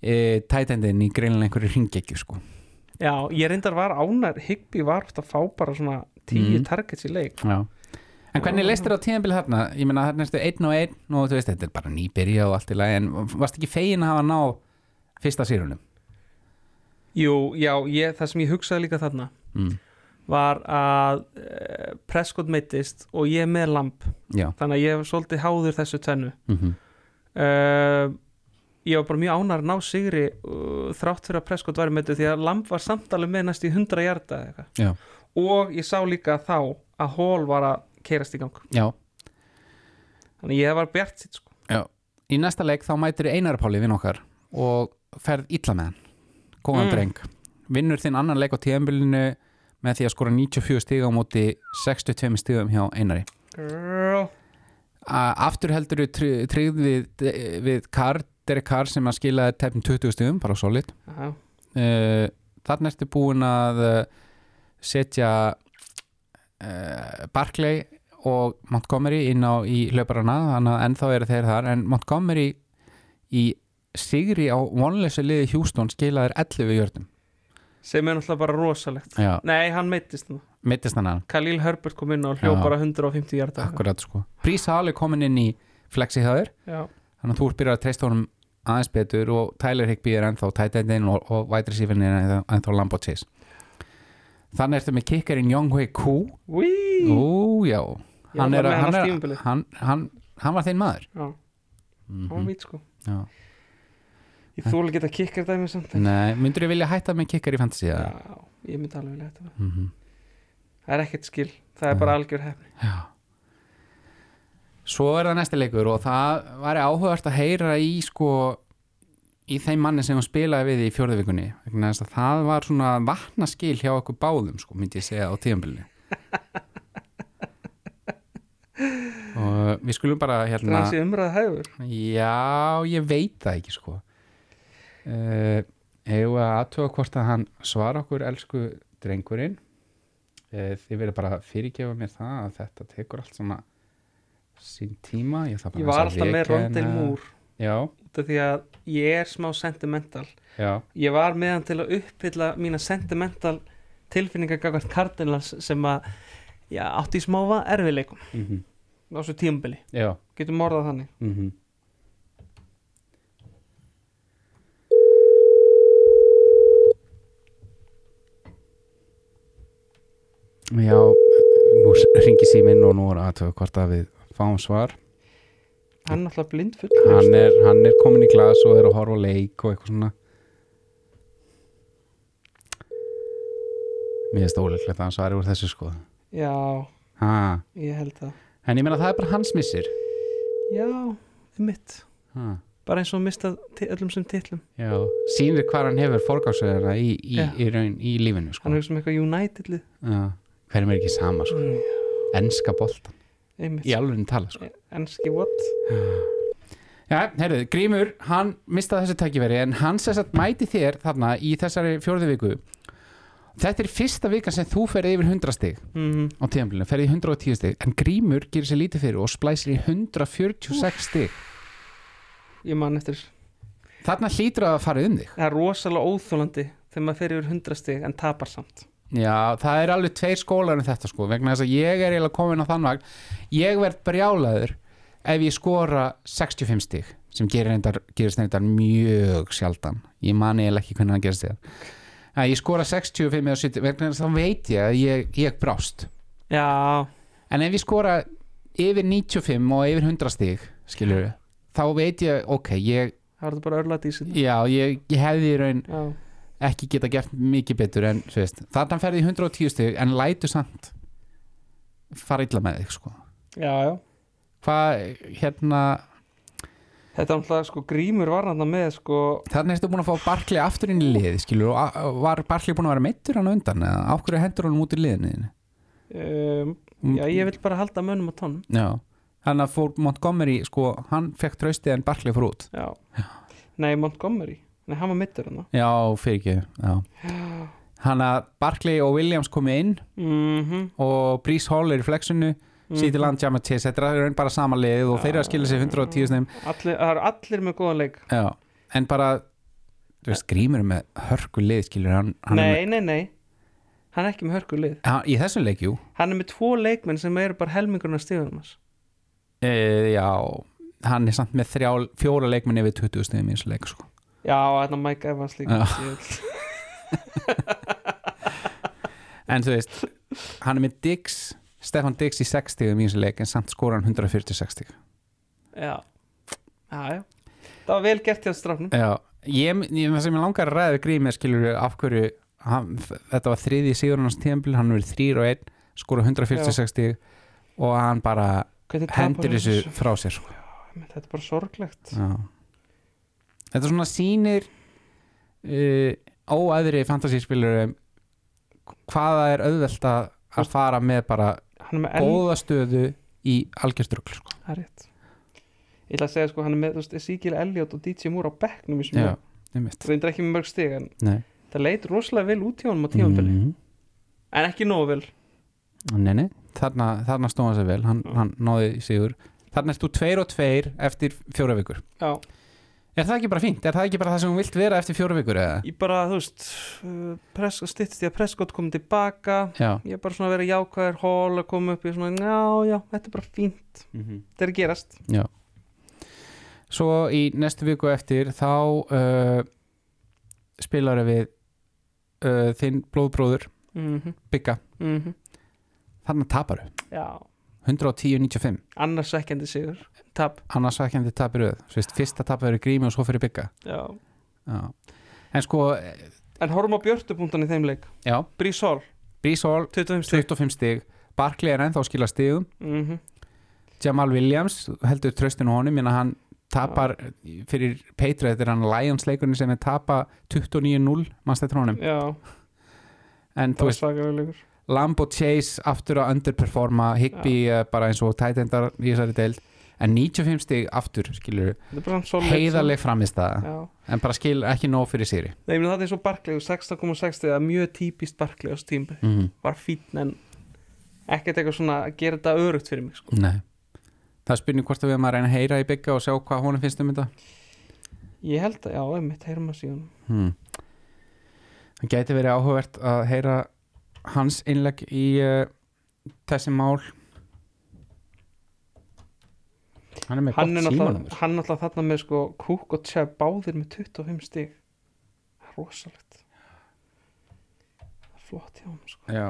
B: e, tætendin í greinlega einhverju ringekju sko.
A: Já, ég reyndar var ánar Higby var oft að fá bara svona tíu
B: Mm.
A: targets í leik
B: Já. en hvernig leistir á tíðanbili þarna ég meina þarna erstu einn og einn og þú veist, þetta er bara nýbyrja og allt í lagi en varst ekki fegin að hafa náð fyrsta sírunum
A: Jú, já, ég, það sem ég hugsaði líka þarna
B: mm.
A: var að eh, Prescott meittist og ég er með lamp
B: já,
A: þannig að ég hef svolítið háður þessu tvennu
B: mm
A: uh, ég var bara mjög ánar að ná sigri uh, þrátt fyrir að Prescott væri meittu því að lamp var samtalið með næst í 100 hjarta eða eitthvað.
B: já,
A: og ég sá líka þá að hól var að keirast í gang
B: já
A: þannig að ég var bjart sitt sko.
B: í næsta leik þá mætir Einar Páli vinn okkar og ferð illa með hann góðan
A: Mm.
B: dreng vinnur þinn annan leik á tíðanbilinu með því að skora 94 stíga á móti 62 stígum hjá Einari
A: Girl.
B: A- aftur heldur við tryggð við, við Carr, Derek Carr sem að skila tefn 20 stígum, bara solid
A: Já.
B: uh, þarna ertu búin að eh, setja uh, Barclay og Montgomery inn á í hlauparana þannig að ennþá eru þeir þar en Montgomery í sigri á vonleysu liði Hjústón skilaðir 11 jörnum
A: sem er náttúrulega bara rosalegt
B: Já,
A: nei, hann meittist nú
B: mittist hann hann
A: Khalil Herbert kom inn og hljóð
B: Já.
A: bara 150 hjarta
B: akkurat sko Prísa Hall er komin inn í flexi hjá þér
A: Já.
B: þannig að þú ert byrjað að treysta honum aðeins betur og Tyler Higby er ennþá tætendin og, og vætri sífinni er ennþá- ennþá Lambo Chase þannig ertu með kickerinn Young Hui Koo
A: Whee!
B: Ú, já
A: Ég
B: hann,
A: var
B: er,
A: með
B: hann,
A: hann allt
B: er,
A: tímabilið.
B: hann, hann, hann var þinn maður
A: Já,
B: mm
A: hann var mít sko
B: Já.
A: Ég þúlega geta kikkar dæmi samt
B: Nei, myndur þú vilja hætta með kikkar í fantasy
A: Já,
B: eða?
A: ég myndi alveg vilja þetta
B: Mhm.
A: Það er ekkert skil, það er bara algjör hefni
B: Já Svo er það næsti leikur og það væri áhugast að heyra í sko í þeim manni sem hún spilaði við í fjórðuvikunni vegna þess að það var svona vatnaskil hjá okkur báðum sko, myndi ég segja á tíðanbili og við skulum bara
A: Það er
B: hérna
A: hans í umræða hæfur
B: Já, ég veit það ekki sko uh, Ef að aðtuga hvort að hann svara okkur elsku drengurinn uh, Þið verið bara að fyrirgefa mér það að þetta tekur allt svona sín tíma Ég, þarf bara
A: Ég
B: aðeins
A: var
B: að
A: alltaf með
B: rekja
A: Rondel
B: hana.
A: Moore
B: Já,
A: út af því að ég er smá sentimental
B: já,
A: Ég var með hann til að uppfylla mína sentimental tilfinningar gagvart Cardinals sem að já, átti í smáfa erfileikum
B: mm -hmm.
A: á svo tímbili,
B: já
A: getum orðað þannig
B: mm Já, nú ringi síminn og nú er aðtöðu hvort að við fáum svar
A: Hann er náttúrulega blind
B: hann er, hann er komin í glas og er að horfa á leik og eitthvað svona Mér finnst óleiklegt að hann svari úr þessu sko
A: Já,
B: ha.
A: ég held það
B: En ég meina það er bara hans missir
A: Já, mitt
B: ha.
A: Bara eins og mistað ti- öllum sem titlum
B: Já, sýnir hvað hann hefur forgásuðina í, í,
A: Já.
B: í, raun, í lífinu sko
A: Hann er sem eitthvað United lið
B: Já, hverjum er ekki sama sko
A: Mm,
B: Enska boltan,
A: einmitt
B: í alveg tala sko
A: Enski what?
B: Já, heyrðu, Grímur, hann mistaði þessu tækifæri en hann sess að mæti þér þarna í þessari fjórðu viku Þetta er fyrsta vika sem þú ferði yfir 100 stig
A: Mm,
B: á tíðanbílinu, ferði í 110 stig en Grímur gerir sér lítið fyrir og splæsir í 146 stig
A: ég man eftir
B: Þarna hlýtur að fara um þig
A: Það er rosalega óþólandi þegar maður fer yfir 100 stig en tapar samt
B: Já, það er alveg tveir skólar um þetta sko vegna þess að ég er eiginlega komin á þann vagn ég verð brjálaður ef ég skora 65 stig sem gerir reyndar, gerist reyndar mjög sjaldan ég man eiginlega ekki hvernig það gerist þér að ég skora 65 eða 70 vegna þess að þá veit ég að ég, ég brást
A: Já,
B: en ef ég skora yfir 95 og yfir 100 stig skilur við, þá veit ég ok, ég,
A: það var þetta bara örla dísin
B: já, ég, ég hefði í raun
A: Já,
B: ekki geta gert mikið betur en þú veist, þarna ferði í 110 stig en lætu samt fara illa með þig sko
A: já, já
B: hvað, hérna,
A: Þetta er náttúrulega sko grímur var hann með sko
B: þarna ertu búin að fá Barkley aftur inn í liði, skilur og a- var Barkley búin að vera meittur hann á undan eða á hverju hendur hann út í liðinu þínu?
A: um, Já, ég vil bara halda mönnum á tónn
B: já, þannig að fór Montgomery sko, hann fekk traustið en Barkley fór út
A: Já Nei, Montgomery Nei, hann var mittur hann
B: já, fyrir ekki, já hann að Barkley og Williams komi inn
A: mm -hmm.
B: og Brees Hall er í flexinu
A: Mhm.
B: City Land Jamma Chase, þetta er raun bara sama lið og þeir eru að skilja sér 110 sneim
A: allir, það eru allir með góðan leik
B: Já, en bara þú veist, grímur er með hörku lið skilur hann, hann er
A: nei, nei, nei, hann er ekki með hörku lið
B: með, hann, í þessum leik, jú
A: hann er með tvo leikmenn sem eru bara helmingurna stíðum
B: e, já, hann er samt með þrjá, fjóra leikmenn yfir 20 sneim í þessu leik sko.
A: já, þarna Mike Evans líka
B: Já.
A: djöfull.
B: en þú veist, hann er með Diggs Stefan Diggs í 60 í þessu leik en samt skora hann 140-60
A: já, já, já það var vel gert hjá strafnum
B: já, ég, ég, það sem ég langar að ræða grímur skilur af hverju hann, þetta var þriði síður hans tíðanbíl, hann er þrýr og einn skora 140-60 og hann bara
A: Hvernig tapar
B: hendur
A: hann
B: þessu frá sér sko.
A: þetta er bara sorglegt
B: Já. Þetta svona sýnir uh, óæðri fantasíspilurum hvaða er auðvelt að að fara með bara
A: hann er með enn,
B: góða stöðu í algjörstrugl sko.
A: það er rétt ég ætla að segja sko, hann er með, þú veist, Ezekiel Elliot og DJ Moore á bekknum í sem
B: Já, einmitt
A: það er ekki með mörg stig en
B: Nei.
A: það leit rosalega vel út hjá honum á tímanbili
B: Mm.
A: en ekki nógu vel
B: Mhm. Nei, nei, þarna, þarna stóð hann sér vel hann,
A: Já.
B: hann náði í sigur Þarna ertu tveir og tveir eftir fjóra vikur
A: já,
B: Er það ekki bara fínt? Er það ekki bara það sem hún vilt vera eftir fjóra vikur? Eða?
A: ég bara, þú veist uh, pres, stittist ég að Prescott kom tilbaka
B: Já
A: ég er bara svona að vera jákvæður hól að koma upp í svona, já, já, þetta er bara fínt
B: Mhm.
A: þetta er að gerast
B: Já Svo í næstu viku eftir þá uh, spilar við uh, þinn blóðbróður
A: mm -hmm.
B: Bigga, þannig tapar
A: já,
B: 110-95,
A: annars ekkjandi sigur tap,
B: annars sækjandi tapir auð Svist, fyrsta tapar er grími og svo fyrir Bigga
A: já
B: já. En sko, eh,
A: en horfum á björtupunktan í þeim leik
B: já
A: Brís Hall,
B: Brees Hall
A: 25 stig
B: 25 stig, Barkley er ennþá að skila stigum
A: mm -hmm.
B: Jamal Williams heldur tröstinu honum minna hann tapar fyrir Petra, þetta er hann Lions leikurinn sem er tapa 29-0 mannstættur honum
A: já, það
B: en Mm. þú
A: var
B: veist,
A: svakalega leikur
B: Lambo Chase aftur að underperforma Higby uh, bara eins og tætendar í þessari deild en 95 stig aftur skilur
A: þetta er bara svona solid- sko.
B: heiðarleg framist það
A: já
B: en bara skil ekki nóg fyrir sýri
A: Nei, ég meina það er svo barklegur, 16,6 það er mjög típist barklegur á stímbi
B: mm
A: var fín en ekkert eitthvað svona að gera þetta örugt fyrir mig sko.
B: -hmm. það er spurning hvort að við erum að reyna að heyra í byggja og sjá hvað honum finnst um þetta
A: ég held að, já, einmitt, heyrum að síðan
B: hmm. það gæti verið áhugavert að heyra hans innlegg í uh, þessi mál hann er með
A: hann er,
B: gott sko. símanum
A: náttúrulega, hann er náttúrulega þarna með sko Cook og Chef báðir með 25 stig það er rosalegt það er flott hjá hann sko.
B: já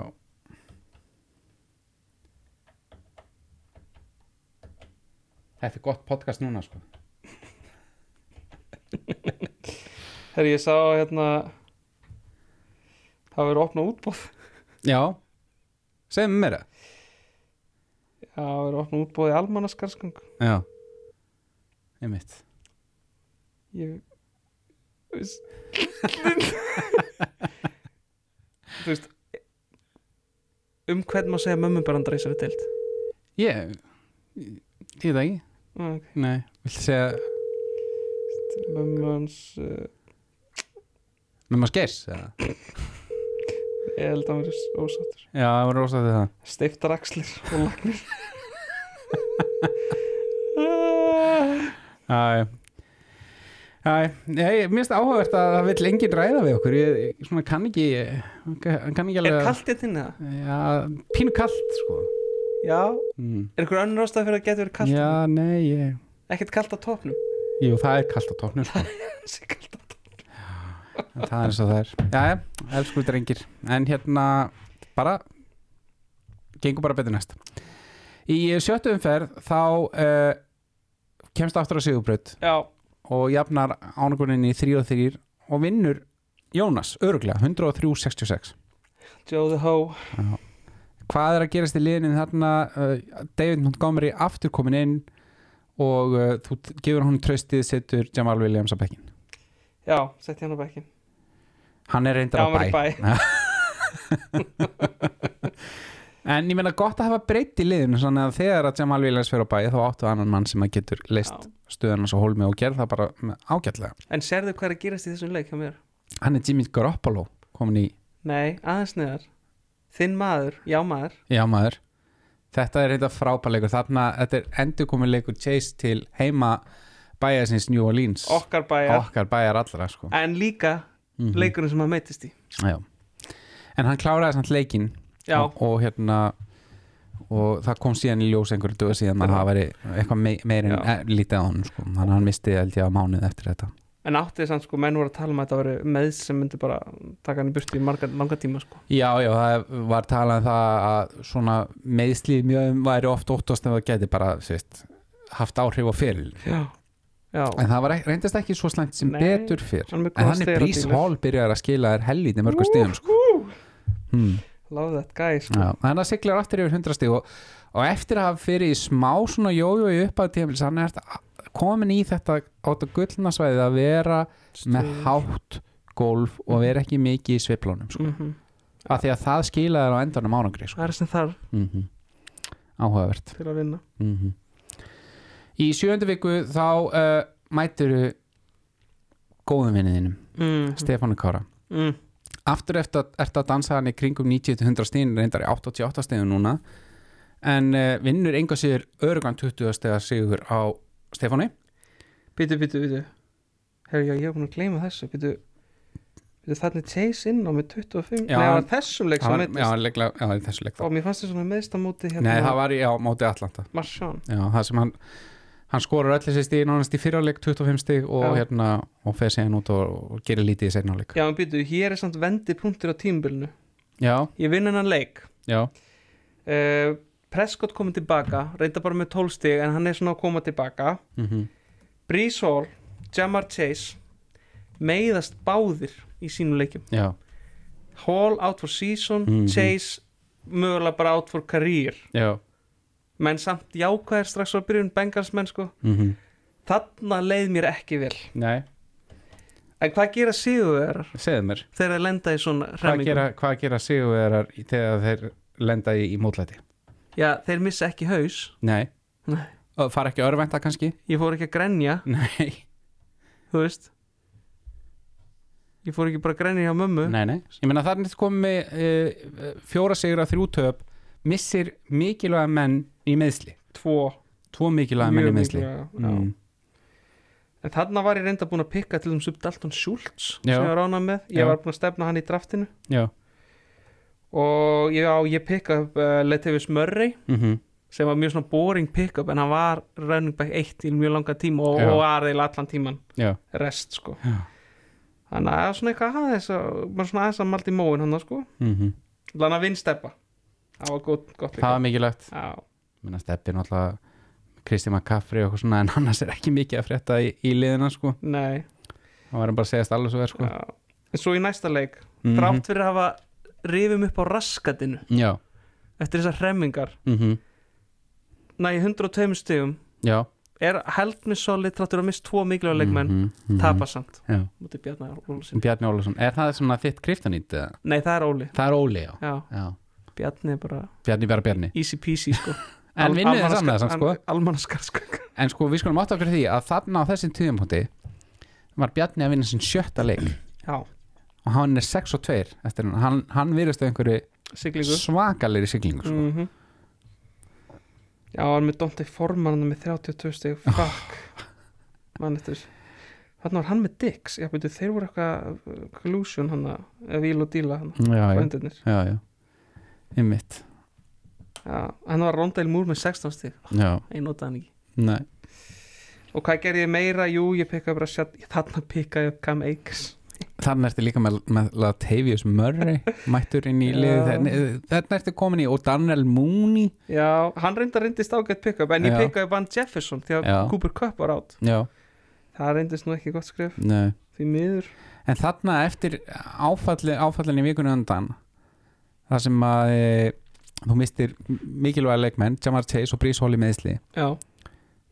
B: Þetta er gott podcast núna sko
A: þegar ég sá hérna það verið opnað útbóð
B: Já, segðu mér það
A: já, það verið opnað útbóð í almannaskarsköng
B: Já Einmitt
A: ég veist þú veist um hvern maður segja mömmu bara andra í þessari deild
B: Ég, ég ég veit það ekki
A: Ah, Ok,
B: Nei, viltu segja
A: mömmu hans uh,
B: Með maður skeirs eða?
A: ég held að hann verið ósáttur
B: Já, það var rosa til það
A: steiftar axlir og lagnir Ah,
B: Æ, æ, ég, mér finnst áhugavert að það vill enginn ræða við okkur Ég, ég svona kann ekki kann ekki
A: Er
B: alveg að-
A: kalt hérna þetta inn það?
B: Já, pínu kalt sko
A: Já
B: mm.
A: Er ykkur önnur ástæð fyrir að geta verið kalt? hérna?
B: Já, nei, ég
A: Ekkert kalt á topnum?
B: Jú, það er kalt á tóknu sko
A: Þessi kalt á topnum
B: En það er eins og það er Jæja, elsku drengir En hérna, bara Gengur bara betur næst Í sjöttu umferð þá uh, Kemst aftur á sigurbraut
A: Já,
B: Og jafnar ánuguninni í 3 og 3 Og vinnur Jónas, öruglega 103.66
A: Joe the Ho
B: Hvað er að gerast í liðinu þarna uh, David Montgomery aftur komin inn Og uh, þú t- gefur hann tröstið Settur Jamal Williams að bekkin
A: Já, setti hann á bekkin
B: Hann er
A: Já,
B: reyndar
A: hann
B: á
A: var í
B: bæ
A: bæ
B: En ég meina gott að hafa breytt í liðinu þannig að þegar að Jamal Williams fyrir á bæði þá áttu annan mann sem að getur
A: Já.
B: leist stöðan hans á hólmi og gerð það bara með ágætlega
A: En sérðu hvað er að gerast í þessum leik hjá mér?
B: Hann er Jimmy Garoppolo komin í
A: Nei, aðeins neðar Þinn maður, já maður
B: Já maður Þetta er reynda frábæleikur Þarna, þetta er endurkomuleikur Chase til heima bæjarsins New Orleans
A: Okkar bæjar
B: Okkar bæjar Mhm. allra sko Mhm,
A: En líka leikurinn sem hann meittist í
B: Já. En hann kláraði samt leikinn
A: Já.
B: og, og hérna og það kom síðan í ljós einhverju döð síðan að
A: Já.
B: það væri eitthvað mei, meir en
A: Já.
B: eh, lítið á hann sko. þannig að hann misti held ég að mánuð eftir þetta
A: En átti þess að sko, menn voru að tala um að þetta voru meðs sem myndi bara taka hann í burtu í marga, langa tíma sko.
B: Já, já, það var talað um það að svona meðslíð mjög væri oft óttast en það geti bara þú veist, haft áhrif á fyrir
A: Já, já
B: en það var ek- reyndast ekki svo slæmt sem
A: Nei,
B: betur fyrr
A: hann er með
B: en
A: góða
B: hann er Brís
A: steradílar.
B: Hall byrjar að skila þér helvítið mörgum stíðum sko. hmm.
A: Love that guy sko.
B: Já, þannig að siglar aftur yfir 100 stíg og, og eftir að hafa fyrir í smá svona jójó í uppað tímil hann er þetta- komin í þetta á þetta gullna svæði að vera með
A: Stuð.
B: hátt golf og vera ekki mikið í sveiflónum sko.
A: Mhm.
B: af því að það skilaði þér á endanum árangri
A: Það
B: sko.
A: er sem þarf
B: mm áhugavert
A: til að vinna
B: mm í sjöundu viku þá uh, mæturu góðum vinniðinum,
A: mm.
B: Stefánu Kára
A: mm.
B: aftur eftir að, eftir að dansa hann í kringum 90-100 stíðin reyndar í 88 stíðin núna en uh, vinnur enga sigur örugan 20 stíða sigur á Stefáni
A: Býtu, býtu, býtu Herru, já, ég er búin að gleyma þessu Býtu, býtu þannig Chase inn á með 25
B: Já,
A: Nei, það var
B: hann-
A: þessum leik
B: Það
A: sem
B: var- já,
A: meittist
B: leikla, já, í þessu leik þá
A: Og mér fannst þessum að meðst á móti hérna
B: nei, það var í á móti Atlanta
A: Marsjón
B: já, það sem hann, hann skorur öll þessi stíð nánast í fyrra leik 25 stíð og,
A: Já.
B: hérna, og fer sér út og, og gerir lítið í seinna leik
A: Já, en býtu, hér er samt vendi punktur á tímbilinu
B: já,
A: Ég vinn hennan leik
B: já,
A: uh, Prescott komið tilbaka reynda bara með 12 stig en hann er svona að koma tilbaka
B: mm
A: Brees Hall, Jamar Chase meiðast báðir í sínum leikjum
B: já,
A: Hall out for season,
B: Mhm.
A: Chase mögulega bara out for career
B: já
A: menn samt jákvæðir strax á byrjun Bengalsmenn sko,
B: mm
A: þarna leið mér ekki vel
B: nei,
A: en hvað gera sigurvegarar
B: segðu mér
A: þegar þeir lenda í svona
B: hvað
A: hremmingum
B: gera, hvað gera sigurverar þegar þeir lenda í, í mótlæti
A: já, þeir missa ekki haus
B: Nei,
A: Nei.
B: Og fara ekki örvænta kannski
A: ég fór ekki að grenja,
B: Nei,
A: þú veist ég fór ekki bara að grenja hjá mömmu
B: nei, nei Ég meina þarna er komið uh, fjóra sigur að þrjú töp missir mikilvæga menn í meðsli
A: tvo
B: Tvo mikilvæga menn í meðsli
A: mm. en þarna var ég reynda búin að pikka til þessum Dalton Schultz sem
B: Já.
A: ég var ánað með, ég
B: Já.
A: var búin að stefna hann í draftinu
B: Já
A: og ég, á, ég pikka upp uh, Latavius Murray
B: mm
A: sem var mjög svona boring pick-up en hann var running back 1 í mjög langa tíma og,
B: Já.
A: og var eiginlega allan tíman
B: Já,
A: rest sko
B: Já.
A: þannig að það er svona eitthvað aðeins að, bara svona aðeins að maldi móin hann sko
B: mm
A: þannig að vinnsteppa það var gott, gott
B: það var mikilvægt
A: Já.
B: Ég meina steppi náttúrulega Kristi McCaffrey og eitthvað svona en annars er ekki mikið að frétta í, í liðina sko
A: Nei,
B: Það var hann bara að segjast alveg svo verð sko
A: já. en svo í næsta leik
B: Mhm.
A: þrátt fyrir að hafa rifum upp á raskatinu
B: Já,
A: eftir þessar hremmingar
B: mm
A: næ 102 stigum
B: já
A: er held með solid þrátt fyrir að missa tvo mikilvæg leikmenn mm -hmm. tapa samt
B: Mhm. Já.
A: mútið Bjarnar Ólusin
B: Bjarni Ólafsson, er það svona þitt kriftanýtt? eða?
A: nei það er Óli
B: Það er Óli, já,
A: já,
B: já.
A: Bjarni er bara
B: Bjarni bara Bjarni
A: easy peasy sko
B: En vinnið þið saman þessan sko
A: almannaskar sko
B: En sko við skulum átta okkur á því að þarna á þessum tíðumpunkti var Bjarni að vinna sinn sjötta leik
A: já,
B: og hann er 6 og 2 eftir hann, hann, hann virðist á einhverju
A: siglingu
B: svakalegri siglingu sko.
A: mm já, hann með Dante Forman með 32 stig, fuck mann eftir þessu. þarna var hann með Dix, já betur þeir voru eitthvað uh, collusion hann að víl og díla hann
B: Já, já,
A: frændurnir.
B: já, já Einmitt,
A: Já, hann var Rondale Moore með 16 stig
B: já,
A: ég nota hann ekki
B: nei
A: og hvað gerði ég meira, jú ég pikkaði bara sjat, þarna pikkaði ég upp Cam Akers
B: Þannig ertu líka með, með Latavius Murray mættur inn í
A: Já.
B: liðið Þannig ertu komin í og Daniel Mooney
A: já, hann reyndar reyndist ágætt pikkaði en ég
B: Já.
A: pikkaði Van Jefferson því að
B: Já.
A: Cooper Cup var átt
B: Já,
A: það reyndist nú ekki gott skrif
B: nei
A: því miður
B: En þarna eftir áfalli, áfallin í vikunni undan þar sem að e, þú mistir mikilvæga leikmenn Jamar Chase og Brís Hall í meðsli
A: já,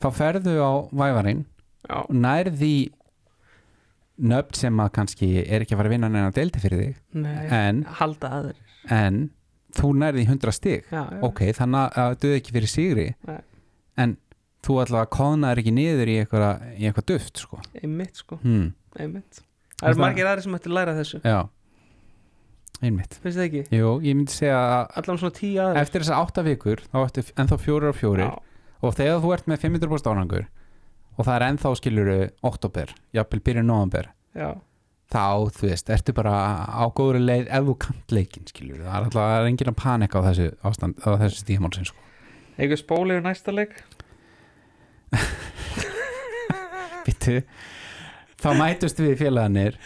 B: þá ferðu á vævarinn
A: já,
B: og nærði nöfn sem að kannski er ekki að fara að vinna neina deildi fyrir þig
A: nei
B: en,
A: halda aður
B: en þú nærði 100 stig
A: já, já.
B: ok, þannig að duð ekki fyrir sigri
A: Nei.
B: en þú allavega koðnaður ekki niður í eitthvað, í eitthvað duft sko.
A: einmitt sko,
B: hmm,
A: einmitt það
B: Það-
A: eru margir aðri sem ætti að læra af þessu
B: já einmitt
A: finnst þið ekki?
B: Jú, ég myndi segja að
A: Allan svona tíu aðeins
B: eftir þessar átta vikur þá ertu f- ennþá fjórir og fjórir og þegar þú ert með 500% árangur og það er ennþá skiluru oktober, jafnvel byrjun november
A: já,
B: þá, þú veist, ertu bara á góður leið ef þú kant leikinn, skilur það er alltaf, það er enginn að panika á þessu ástand, á þessu stíðamálsins, sko
A: einhver spóli yfir næsta leik
B: Bittu, þá mætust við félagarnir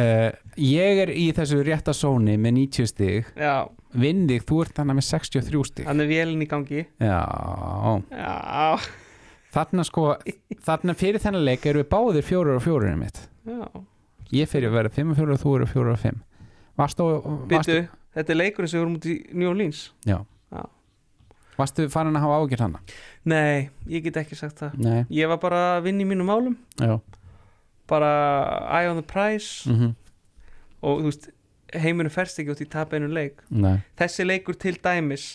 B: uh, ég er í þessu rétta sóni með 90 stig,
A: já,
B: vinn þig, þú ert þannig með 63 stig
A: hann er vélinn í gangi
B: já,
A: já,
B: þarna sko þarna fyrir þennan leik erum við báðir fjórar og fjórar mitt,
A: já
B: ég fyrir að vera 5 og 4 og þú eru 4 og 5 varstu, varstu,
A: Býtu, þetta er leikurinn sem við vorum út í New Orleans
B: varstu farin að hafa ágjur hana?
A: Nei, ég get ekki sagt það
B: Nei,
A: Ég var bara að vinna í mínum málum
B: já,
A: bara eye on the prize
B: mhm
A: og þú veist, heimurinn ferst ekki út í tapa einu leik
B: Nei,
A: þessi leikur til dæmis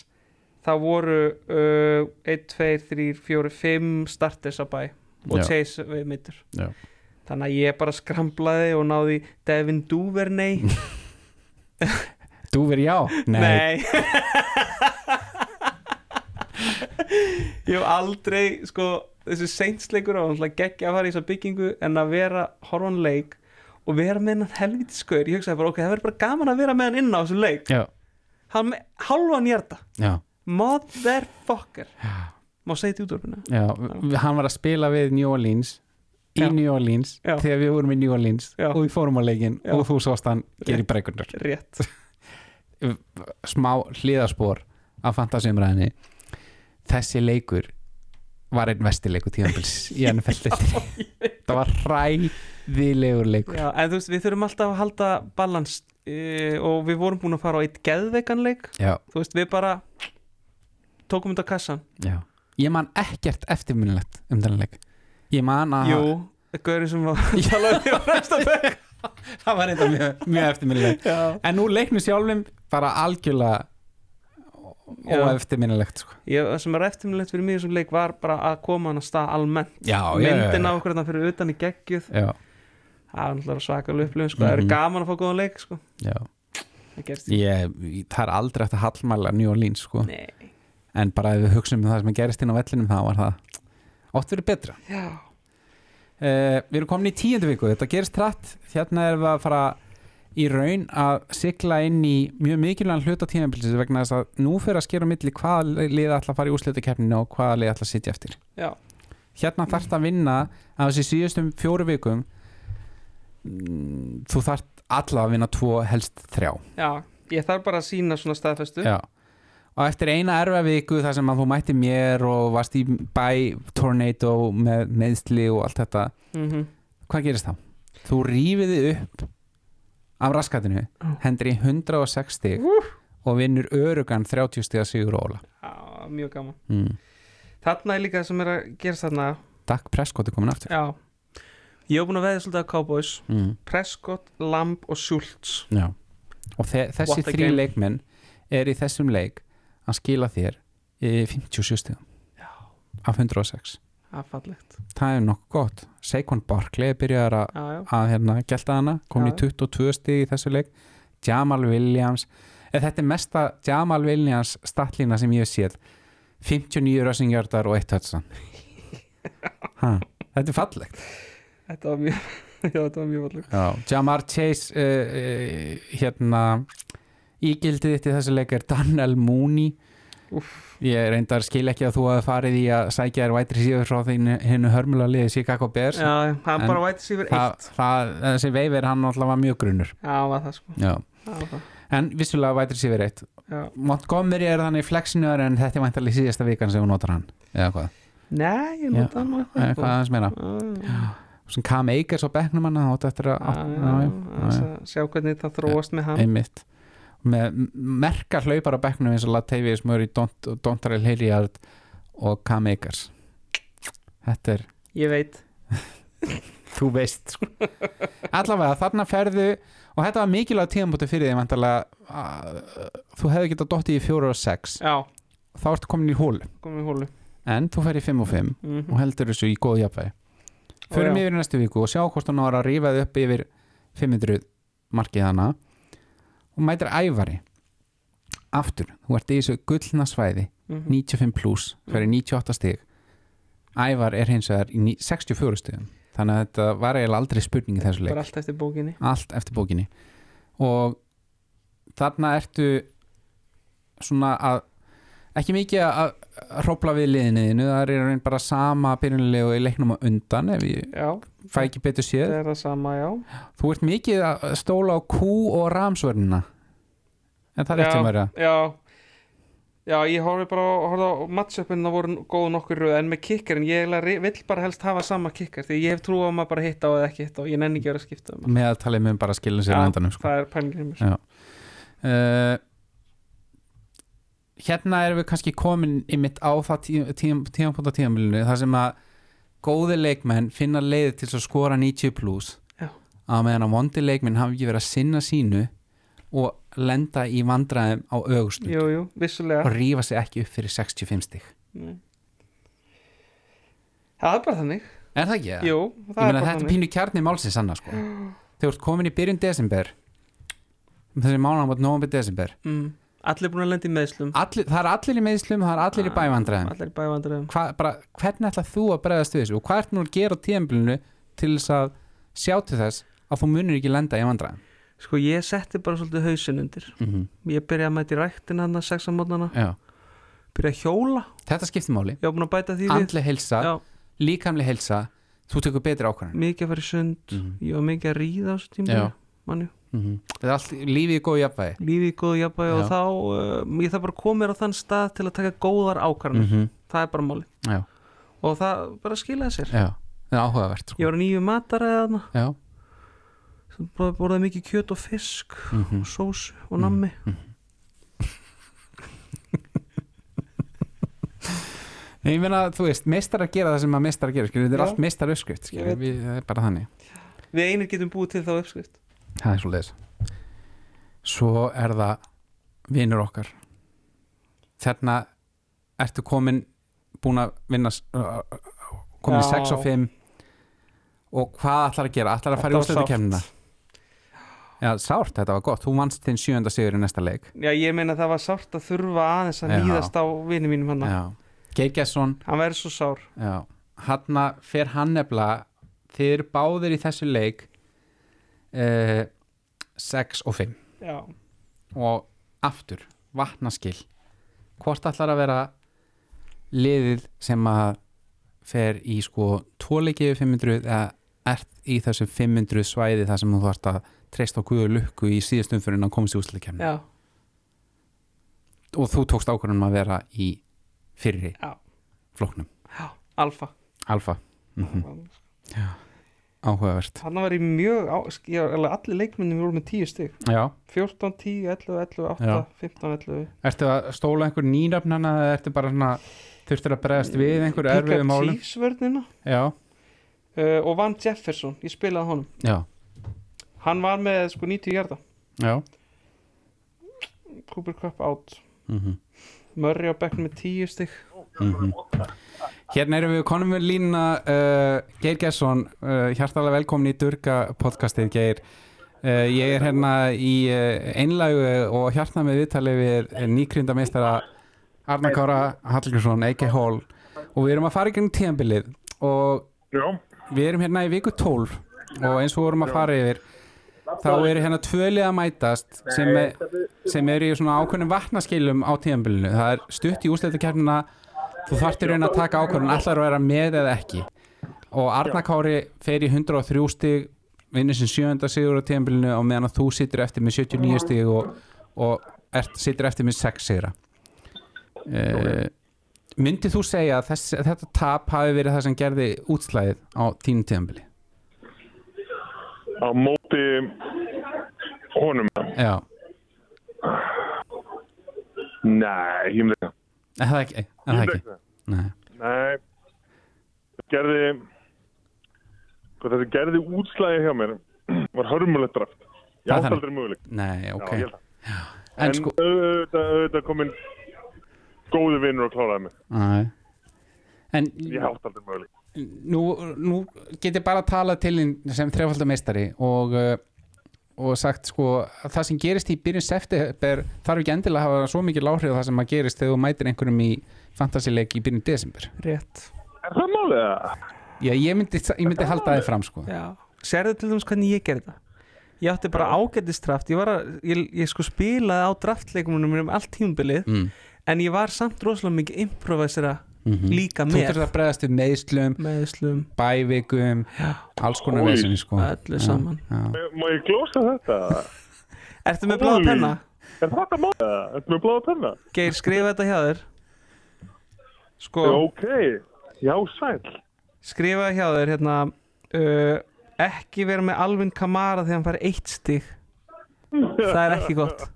A: þá voru uh, 1, 2, 3, 4, 5 starters að bæ og
B: Já.
A: Chase við mittur
B: Já.
A: þannig að ég bara skramplaði og náði Devin Duvernay
B: þú verið já
A: ég hef aldrei sko, þessi seinsleikur og hann geggja að fara í þessa byggingu en að vera horfan leik og vera með hennan helvítið skaur ég hugsaði bara ok, það verður bara gaman að vera með hann inn á þessu leik
B: Já,
A: hann með halvan hjarta
B: já,
A: motherfucker
B: já,
A: má segja þetta í útvarpinu
B: já. v- hann var að spila við New Orleans í
A: Já.
B: New Orleans
A: Já.
B: þegar við vorum í New Orleans
A: Já.
B: og við fórum á leikinn
A: Já.
B: og þú sást hann gera í brekkundur
A: rétt
B: smá hliðaspor af fantasíumræðinni þessi leikur var einn vestileikur tíðanbils í NFL það var ræðilegur leikur
A: Já, en þú veist, við þurfum alltaf að halda balans uh, og við vorum búin að fara á eitt geðveikanleik,
B: já,
A: þú veist, við bara tókum þetta á kassan
B: já ég man ekkert eftirminnilegt um þennan leik ég man að
A: Jú, gaurið sem var að tala um því á næsta bekk
B: það var eitthvað mjög, mjög eftirminnilegt
A: Já.
B: En úr leiknum sjálfum bara algjörlega
A: Já.
B: óeftirminnilegt sko.
A: Ég, það sem er eftirmilegt fyrir mig í þessum leik var bara að koma hann að stað almennt
B: Já,
A: myndin á okkur þarna fyrir utan í geggjuð
B: já,
A: það er náttúrulega svakalega upplifun sko. það er
B: Mhm.
A: gaman að fá góðan leik sko.
B: já.
A: það gerst í
B: Ég, Það er aldrei eftir að hallmæla New Orleans sko.
A: Nei.
B: en bara ef við hugsaum um það sem gerist inn á vellinum það var það oft verið betra
A: Já.
B: uh, Við erum komin í tíundu viku, þetta gerist trætt hérna erum við að fara í raun að sigla inn í mjög mikilvægan hluta tímabilsis vegna þess að nú fyrir að skera á milli hvaða liða ætla að fara í úrslutakeppninu og hvaða liða ætla að sitja eftir
A: Já.
B: hérna þarft að vinna af þessi síðustum fjóru vikum mm, þú þarft alla að vinna tvo helst þrjá
A: Já. ég þarf bara að sína svona staðfestu
B: Já. og eftir eina erfa viku þar sem að þú mætti mér og varst í bæ tornado með meðsli og allt þetta
A: mm
B: hvað gerist þá? Þú rífið þig upp af raskatinu
A: Já.
B: hendur í 106 stig og vinnur örugan 30 stig að sigur óla
A: Já, mjög gaman
B: mm.
A: Þarna er líka það sem er að gerast þarna
B: Dak Prescott er komin aftur
A: Já Ég hef búin að veðja svolítið að Cowboys
B: mm.
A: Prescott, Lamb og Schultz
B: Já. og þe þessi
A: What a
B: þrý
A: game.
B: leikmenn er í þessum leik að skila þér e, í 57 stigum af 106
A: Affallegt
B: það er nokkuð gott Saquon Barkley byrjar að,
A: Já, já
B: að hérna, gelta hana komin
A: Já.
B: í 22 stig í þessu leik Jamal Williams eða þetta er mesta Jamal Williams statlína sem ég hef séð 59 rössingjörðar og 1 hötsan þetta er fallegt
A: Þetta var mjög Já, þetta var mjög fallegt
B: Já. Jamar Chase uh, uh, hérna ígildið þitt í þessu leik er Daniel Mooney ég reyndar skil ekki að þú hafi farið í að sækja þér vætri síður frá þínu hennu hörmulega liði Chicago Bears
A: Já, já, hann
B: En
A: bara væti sig fyrir
B: það,
A: eitt
B: það, þessi veifir hann alltaf var mjög grunnur
A: Já, hann var það sko
B: Já.
A: Það var það
B: en vissulega vætri síður eitt
A: Já
B: Montgomery er þannig flexinuðar en þetta er væntalega síðasta vikan sem hún notar hann eða hvað,
A: Nei, ég
B: Já.
A: nota hann nú
B: eða
A: eitthvað sko.
B: hvað aðeins meira sem kam Eikers á bekknum hann átt eftir að átt- já, já, já,
A: Já, sjá hvernig það þróast með hann
B: einmitt með merka hlaupar á bekknum eins og Latavius Murray, Dont- Dontrell Hilliard og Cam Akers þetta er,
A: Ég veit
B: þú veist sko. allavega þarna ferðu og þetta var mikilvæg tíðanbúti fyrir því vantarlega þú hefði getað dottið í fjóra og sex
A: Já,
B: þá ertu komin í hól
A: komum í hólu
B: en þú fer í fimm og fimm
A: mm
B: og heldur þessu í góð jafnvægi förum yfir í næstu viku og sjá hvort hún ára að rífa þið upp yfir 500 markið hana og mætir ævari aftur, þú ert í þessu gullna svæði
A: Mm. Mhm.
B: 95 pluss, það er 98 stig ævar er hins vegar í ní- 64 stigum þannig að þetta var eiginlega aldrei spurning í þessu leik
A: bara allt eftir bókinni
B: allt eftir bókinni og þarna ertu svona að ekki mikið að hrópla við liðinniðinu, það er í raun bara sama byrjunlegu í leiknum á undan ef ég
A: já,
B: fæ ekki betur séð
A: það er það sama, já
B: þú ert mikið að stóla á Q og ramsvörnina en það er eftir mörja
A: já, já, ég horfi bara á- horfði á matchupin það voru góð nokkur röð en með kickerinn, ég eiginlega re- vill bara helst hafa sama kicker því ég hef trú á að maður bara hitta á eða ekki hitta á ég nenni ekki að vera að skipta um hann.
B: meðaltalið mun bara skilja sér
A: Já,
B: á endanum sko.
A: það er pælingin mér
B: Já. uh, hérna erum við kannski komin ymitt á það tímapunkt tím, tím, á tímamilinu þar sem að góði leikmenn finna leiði til þess að skora 90 plus
A: Já.
B: að meðan að vondi leikmenn hafi ekki verið að sinna sínu og lenda í vandræðum á augustund
A: jú, jú, vissulega
B: og rífa sig ekki upp fyrir 65 stig
A: Nei. það er bara þannig
B: er það ekki það?
A: jú, það er
B: ég meina
A: bara
B: þetta er
A: þannig
B: pínu kjarni málsins annars sko. þegar þú ert komin í byrjun desember þessi mánan átt nógum byrjun desember
A: mm. allir búin að lenda í meðslum
B: allir, það er allir í meðslum, það er allir í
A: Ah,
B: bævandræðum
A: allir í bævandræðum
B: Hva, bara, hvernig ætlað þú að bregðast við þessu og hvað ert nú að gera á tíðanbílunu til þess að sjá til þess að þú munir ekki lenda í vandræðum
A: sko, ég setti bara svolítið hausinn undir
B: mm -hmm.
A: ég byrjaði að mæta í ræktin hann að sexa mótnana byrjaði að hjóla,
B: þetta skiptir máli,
A: ég var búin að bæta því við
B: andli heilsa
A: Já,
B: líkamli heilsa, þú tekur betri ákvarðan
A: mikið að fara í sund ég var mikið að ríða á þessu tíma
B: Mhm. Já.
A: manju,
B: þetta er allt lífið í góðu jafnvægi
A: lífið í góðu jafnvægi og
B: Já.
A: þá uh, ég þarf bara að koma mér á þann stað til að taka góðar ákvarðanir
B: -hmm.
A: það er bara máli
B: já,
A: og það bara skilaði sér
B: já, það er áhugavert
A: ég
B: sko.
A: var nýju mataræðana
B: já,
A: borðaði mikið kjöt og fisk
B: mm
A: og sós og nammi
B: Mhm. ég meina, þú veist, meistar að gera það sem að meistar að gera, skilur, þetta er
A: Já.
B: allt meistar uppskrift skilur,
A: Ég veit.
B: við, það er bara þannig
A: við einir getum búið til þá uppskrift
B: Það er svo leiðis Svo er það vinnur okkar Þarna ertu komin búin að vinna s- uh, komin í
A: Já.
B: 6 og 5 og hvað ætlar að gera? Ætlar að fara í
A: Þetta var
B: úrstöðukemnina? Já, sárt, þetta var gott Þú vannst þinn sjönda sigur í næsta leik
A: já, ég meina það var sárt að þurfa aðeins að
B: Já.
A: nýðast á vini mínum hann
B: Já. Geir Gesson
A: hann verður svo sár
B: já. Hanna fer hann nefnilega þeir báðir í þessu leik eh, 6 og 5
A: já,
B: og aftur vatnaskil hvort ætlar að vera liðið sem að fer í sko tvoleiki yfir 500 eða ert í þessu 500 svæði þar sem þú þarft að treysta á guðu lukku í síðustum fyrir að komast í úsleikjarni
A: já,
B: og þú tókst ákvörðunum að vera í fyrri
A: Já.
B: flóknum
A: já, alfa
B: alfa, mm áhugavert
A: Þannig var ég mjög, á, ég, alveg allir leikmennir voru með 10 stig
B: Já.
A: 14, 10, 11, 11, 8,
B: Já.
A: 15, 11
B: ertu að stóla einhver nýnafnana eða ertu bara svona þurftur að bregðast
A: Mm,
B: við einhver erfið
A: Pickup
B: málum
A: Chiefs vörnina
B: já,
A: uh, og vann Jefferson, ég spilaði honum
B: já,
A: Hann var með sko 90 hjarta
B: já
A: Cooper Cup out
B: mm -hmm.
A: Murray á bekknum með 10 stig
B: Mhm. Hérna erum við konum við lína uh, Geir Gesson, uh, hjartalega velkomin í Durga podcastið Geir uh, Ég er hérna í uh, einlægu og hjartna með viðtalið við nýkryndameistara Arna Kára Hallgjursson, a.k.a. Hall og við erum að fara í gegnum tíðanbilið og
C: Já,
B: við erum hérna í viku 12 og eins og vorum að fara yfir þá eru hérna tvölið að mætast sem, er, sem eru í svona ákveðnum vatnaskilum á tíðanbylunu það er stutt í úsleitakernina þú þarftir raun að taka ákveðnum allar að vera með eða ekki og Arna Kári fer í 103 stig vinnur sem sjönda sigur á tíðanbylunu og meðan að þú situr eftir með 79 stig og, og ert, situr eftir með 6 sigra uh, myndið þú segja að þess, þetta tap hafi verið það sem gerði útslæðið á þínum tíðanbili
C: á móti honum.
B: já,
C: Nei, ég myndi ekki.
B: er það ekki, er það
C: Ég myndi
B: ekki. Nei.
C: Nei, þetta gerði, hvað þetta gerði útslæði hjá mér var hörmulegt draft. Ég
B: Það er
C: átti
B: þannig.
C: aldrei möguleik.
B: Nei, ok
C: ég held
B: en,
C: það. En
B: sko
C: auðvitað, auðvitað kominn góði vinnur og kláraði mig.
B: nei. en
C: Ég átti aldrei möguleik.
B: nú, nú get ég bara að tala til þín sem þrefaldar meistari og uh, og sagt sko að það sem gerist í byrjun september þarf ekki endilega að hafa svo mikið láhrif það sem að gerist þegar þú mætir einhverjum í fantasileik í byrjun desember
A: rétt
C: Er það málið eða?
B: Já, ég myndi, ég myndi halda þið fram sko
A: Já, sérðu til dæmis hvernig ég gerði það Ég átti bara ágættistraft Ég, var að, ég, ég sko spilaði á draftleikunum um allt tímabilið
B: Mm. mhm.
A: en ég var samt rosalega mikið improvisera líka
B: Þú þurft
A: með
B: að bregðast við meðslum,
A: meðslum,
B: bævikum
A: Já.
B: alls konar
C: Oj.
B: vesinni sko
A: öllu saman
B: Já.
C: Má ég glósa þetta?
A: Ertu með bláða
C: Óli.
A: penna?
C: Er þetta málið eða? Ertu með bláða penna?
A: Geir, skrifa þetta hjá þér Sko,
C: Ok, já sæl.
A: skrifa hjá þér hérna uh, ekki vera með Alvin Kamara þegar hann fær eitt stig Það er ekki gott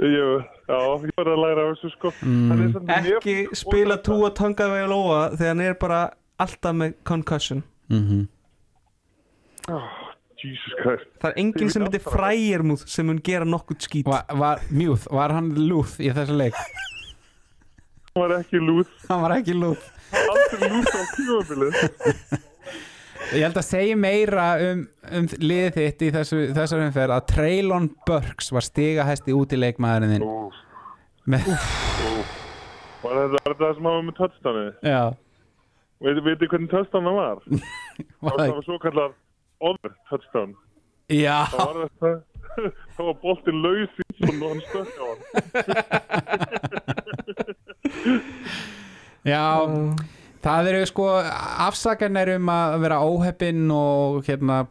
C: Jú, já, ég var að læra af þessu sko. Mm.
A: Ekki spila tú að tangað vega lóa þegar hann er bara alltaf með concussion
B: Mhm.
C: Jesus Christ.
A: Það er enginn sem heitir fræjermúð sem mun gera nokkuð skít
B: var, var, Mjúð, var hann lúð í þessa leik?
C: Hún var ekki lúð.
B: hann var ekki lúð
C: Aldrei lúð á tímabilið.
B: Ég held að segja meira um, um liðið þitt í þessu, þessar umferð að Traylon Burks var stigahæsti út í leikmaðurinn þinn
C: Úff.
B: með,
C: Var þetta var þetta það sem hafa með touchdownið?
B: Já,
C: Veitu veit hvernig touchdownið var?
B: var
C: Það
B: það
C: var svo kallar other touchdown.
B: ekki Já,
C: Það var þetta, það var boltinn laus í svona og hann stökk á hann.
B: já Það eru sko afsakarnir um að vera óheppinn og hérna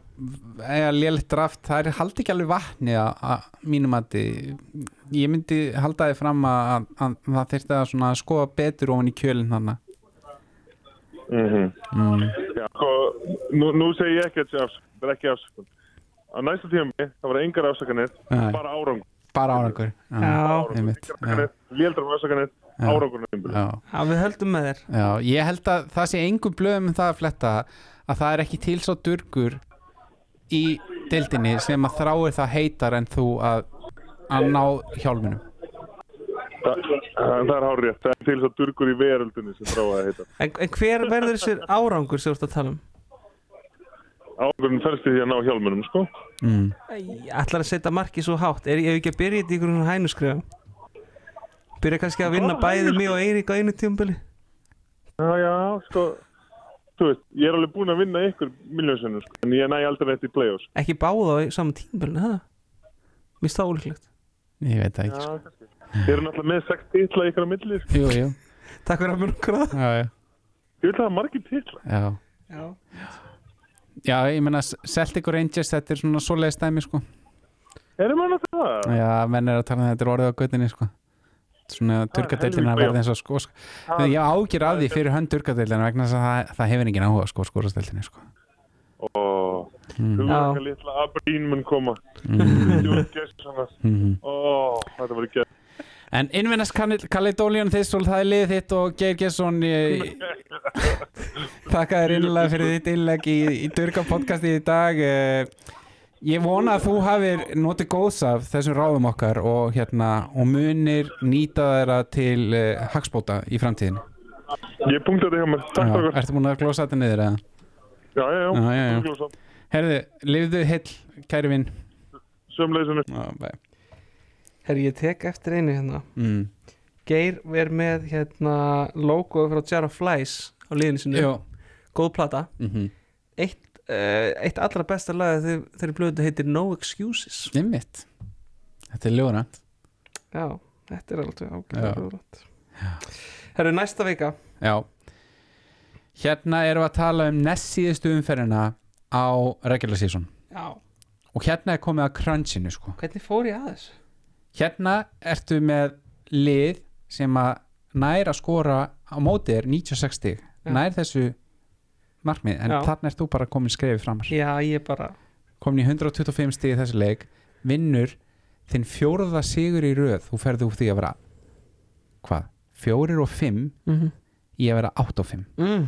B: eða lélitt draft, það er haldi ekki alveg vatni að, að mínum að ég myndi halda þið fram að, að, að það þyrfti að svona skoða betur ofan í kjölinn hann Mm.
C: Já, sko, nú, nú segi ég ekki þessi afsökun, það er ekki afsökun. Á næsta tíma það var engar afsökanir,
B: Nei.
C: bara árangur.
B: bara árangur
A: Já,
C: árangur,
B: einmitt,
C: engar afsakanir, léldrar afsökanir, árangur.
B: já,
A: já, við höldum með þér
B: já, ég held að það sé engum blöðum um það að fletta að það er ekki til svo durgur í deildinni sem að þráir það heitar en þú að, að ná hjálminum
C: Það, það er hárétt, það er til þess að durgur í veröldinni sem þrá að heita.
A: en, en hver verður þessir árangur sem þú ert að tala um?
C: Árangurinn fælst í því að ná hjálmunum, sko.
B: mm.
A: Æ, Ætlar að setja markið svo hátt Er ég ekki að byrja þetta í einhverjum svona hænuskrefum? Byrja kannski að vinna bæði mig og Eirík á einu tíumbili?
C: Já, já, sko, þú veist, ég er alveg búinn að vinna ykkur miljónsinnum, sko, en ég næ aldrei neitt í play-offs.
A: Ekki báða á saman tíumbili, það? Mér stá ólíklegt
B: ég veit það ekki
C: Já,
B: sko.
C: kannski. Þeir eru náttúrulega með sex titla ykkur á milli, sko.
B: jú, jú,
A: Takk fyrir að mér okkur það
B: já, já
C: Ég vil hafa margir titla.
B: Já,
A: Já,
B: já ég meina Celtic og Rangers, þetta er svona svoleiði stæmi sko.
C: Erum við náttúrulega það?
B: Já, menn er að tala um þetta er orðið á göttinni sko. Svona turkadeildina
C: helvíti, já.
B: verði eins og sko, sko. Þegar ég ágjur að því fyrir hönd turkadeildina vegna þess að það, það hefur engin áhuga sko, skorasteildinni sko.
C: Ó,
B: Mm.
C: þú veist
A: Já.
C: ekki litla Abrín mun koma. Jón Gesson,
B: Mhm.
C: ó, þetta var ekki
B: En innvinnast Kaledólion Þissól, það er liðið þitt og Geir Gesson ég... Takka þér innlega fyrir þitt innleg í, í Durga podcasti í dag Eh, Ég vona að þú hafir notið góðs af þessum ráðum okkar og, hérna, og munir nýta þeirra til uh, hagspóta í framtíðinu
C: Ég punkti þetta hjá mér, takk
B: Já,
C: fyrir.
B: Ertu búin að glósa þetta niður eða?
C: Já, já, já.
B: Já, já, já.
C: Glósa.
B: Herðu, lifðu heill, kæri vinn
C: Sömleysinu.
B: Já, bæ.
A: herri, ég tek eftir einu hérna
B: mm.
A: Geir er með hérna logo frá Jara Flies á liðinu sinu
B: Jó,
A: Góð plata
B: mm -hmm.
A: Eitt, uh, eitt allra besta lag þegar, þegar blöðu heitir No Excuses
B: einmitt Þetta er ljóðrænt
A: Já, þetta er alveg
B: Já.
A: ágæðlega rúðrætt Herru, næsta vika
B: Já Hérna erum við að tala um næst síðustu umferðina á regular season
A: Já,
B: og hérna er komið að crunchinu sko
A: hvernig fór ég aðeins?
B: Hérna ertu með lið sem að nær að skora á móti er 96 stig
A: Já.
B: nær þessu markmið en
A: Já.
B: þarna ert þú bara komin skrefið framar
A: Já, ég bara
B: komin í 125 stig í þessu leik vinnur þinn fjórða sigur í röð þú ferði úr því að vera hvað? fjórir og fimm
A: mm
B: í að vera 8 og 5
A: mm.